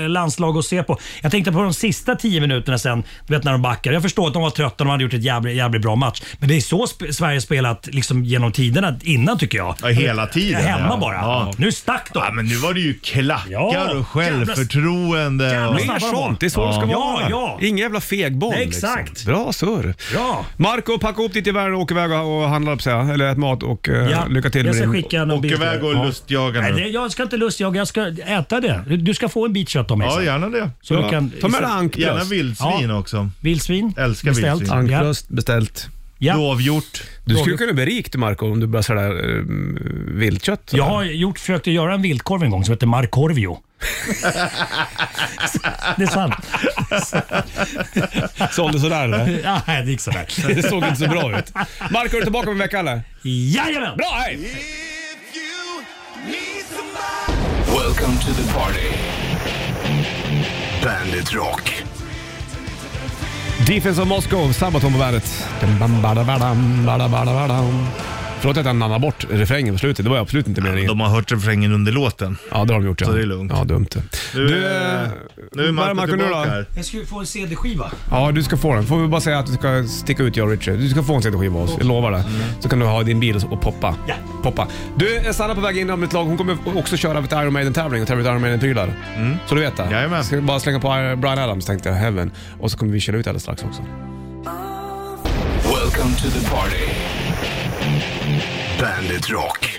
M: eh, landslag att se på. Jag tänkte på de sista tio minuterna sen, du vet när de backar. Jag förstår att de var trötta och de hade gjort ett jävligt, jävligt bra match. Men det är så sp- Sverige spelat liksom, genom tiderna innan tycker jag.
C: Ja, hela tiden.
M: Hemma
C: ja.
M: bara.
C: Ja.
M: Nu stack de.
C: Ja, men nu var det ju klackar
M: Ja,
C: och självförtroende.
M: jävla-
C: och...
M: jävla
B: Mer
M: snabba de var.
B: sånt. Det är så det ska
M: Ja,
B: vara.
M: ja.
B: Ingen jävla fegboll.
M: Nej, exakt.
B: Liksom. Bra surr.
M: Ja.
B: Marco, packa upp ditt gevär och åk iväg och och handla upp sig, eller ät mat och eh,
M: Ja,
B: lycka till
M: jag
B: med
M: ska
B: din...
M: skicka någon
C: Åk
M: bild.
C: iväg och
M: Ja.
C: lustjaga
M: Nej, det,
C: nu.
M: jag ska inte lustjaga, jag ska äta det. Du ska få en bit kött av mig
C: Ja,
M: sen.
C: gärna det.
M: Så du kan-
B: Ta med dig ankbröst.
C: Gärna vildsvin
M: Ja.
C: också.
M: Vildsvin.
C: Älskar
M: Beställt.
C: vildsvin.
B: Ankbröst beställt.
M: Ja.
C: Dovhjort.
B: Du skulle kunna bli rik du, Marco om du börjar sälja eh, viltkött.
M: Jag har gjort, försökte göra en viltkorv en gång som heter Markorvio. det är sant.
B: [laughs] Sålde sådär
C: [laughs]
B: eller?
M: Ja, det gick sådär.
B: [laughs] Det såg inte så bra ut. Marco, är du tillbaka om en vecka eller?
M: Jajamän!
B: Bra, hej!
E: Welcome to the party.
O: Bandit Rock.
B: Defense of Moscow, Sabaton på bandet. Dum, bada, badam, bada, bada, badam. Förlåt att jag nannade bort refrängen på slutet. Det var ju absolut inte meningen.
C: De har hört refrängen under låten.
B: Ja, det har de gjort ja.
C: Så det är lugnt.
B: Ja, dumt det.
C: Nu,
B: Du,
C: eh,
B: eh,
C: nu
B: bara
C: är Marco
B: Marco nu
C: tillbaka
B: då.
C: här.
M: Jag ska ju få en CD-skiva.
B: Ja, du ska få den. Får vi bara säga att du ska sticka ut jag och Richard. Du ska få en CD-skiva av oss, jag lovar det. Så kan du ha i din bil och poppa.
M: Ja.
B: poppa. Du, är Sanna på väg in om ett lag. Hon kommer också köra ett Iron Maiden-tävling och tävla ut Iron Maiden-prylar. Så du vet det.
C: Jajamän.
B: Ska bara slänga på Brian Adams tänkte jag, Heaven. Och så kommer vi köra ut alldeles strax också.
E: Welcome to the party.
O: Bandit Rock.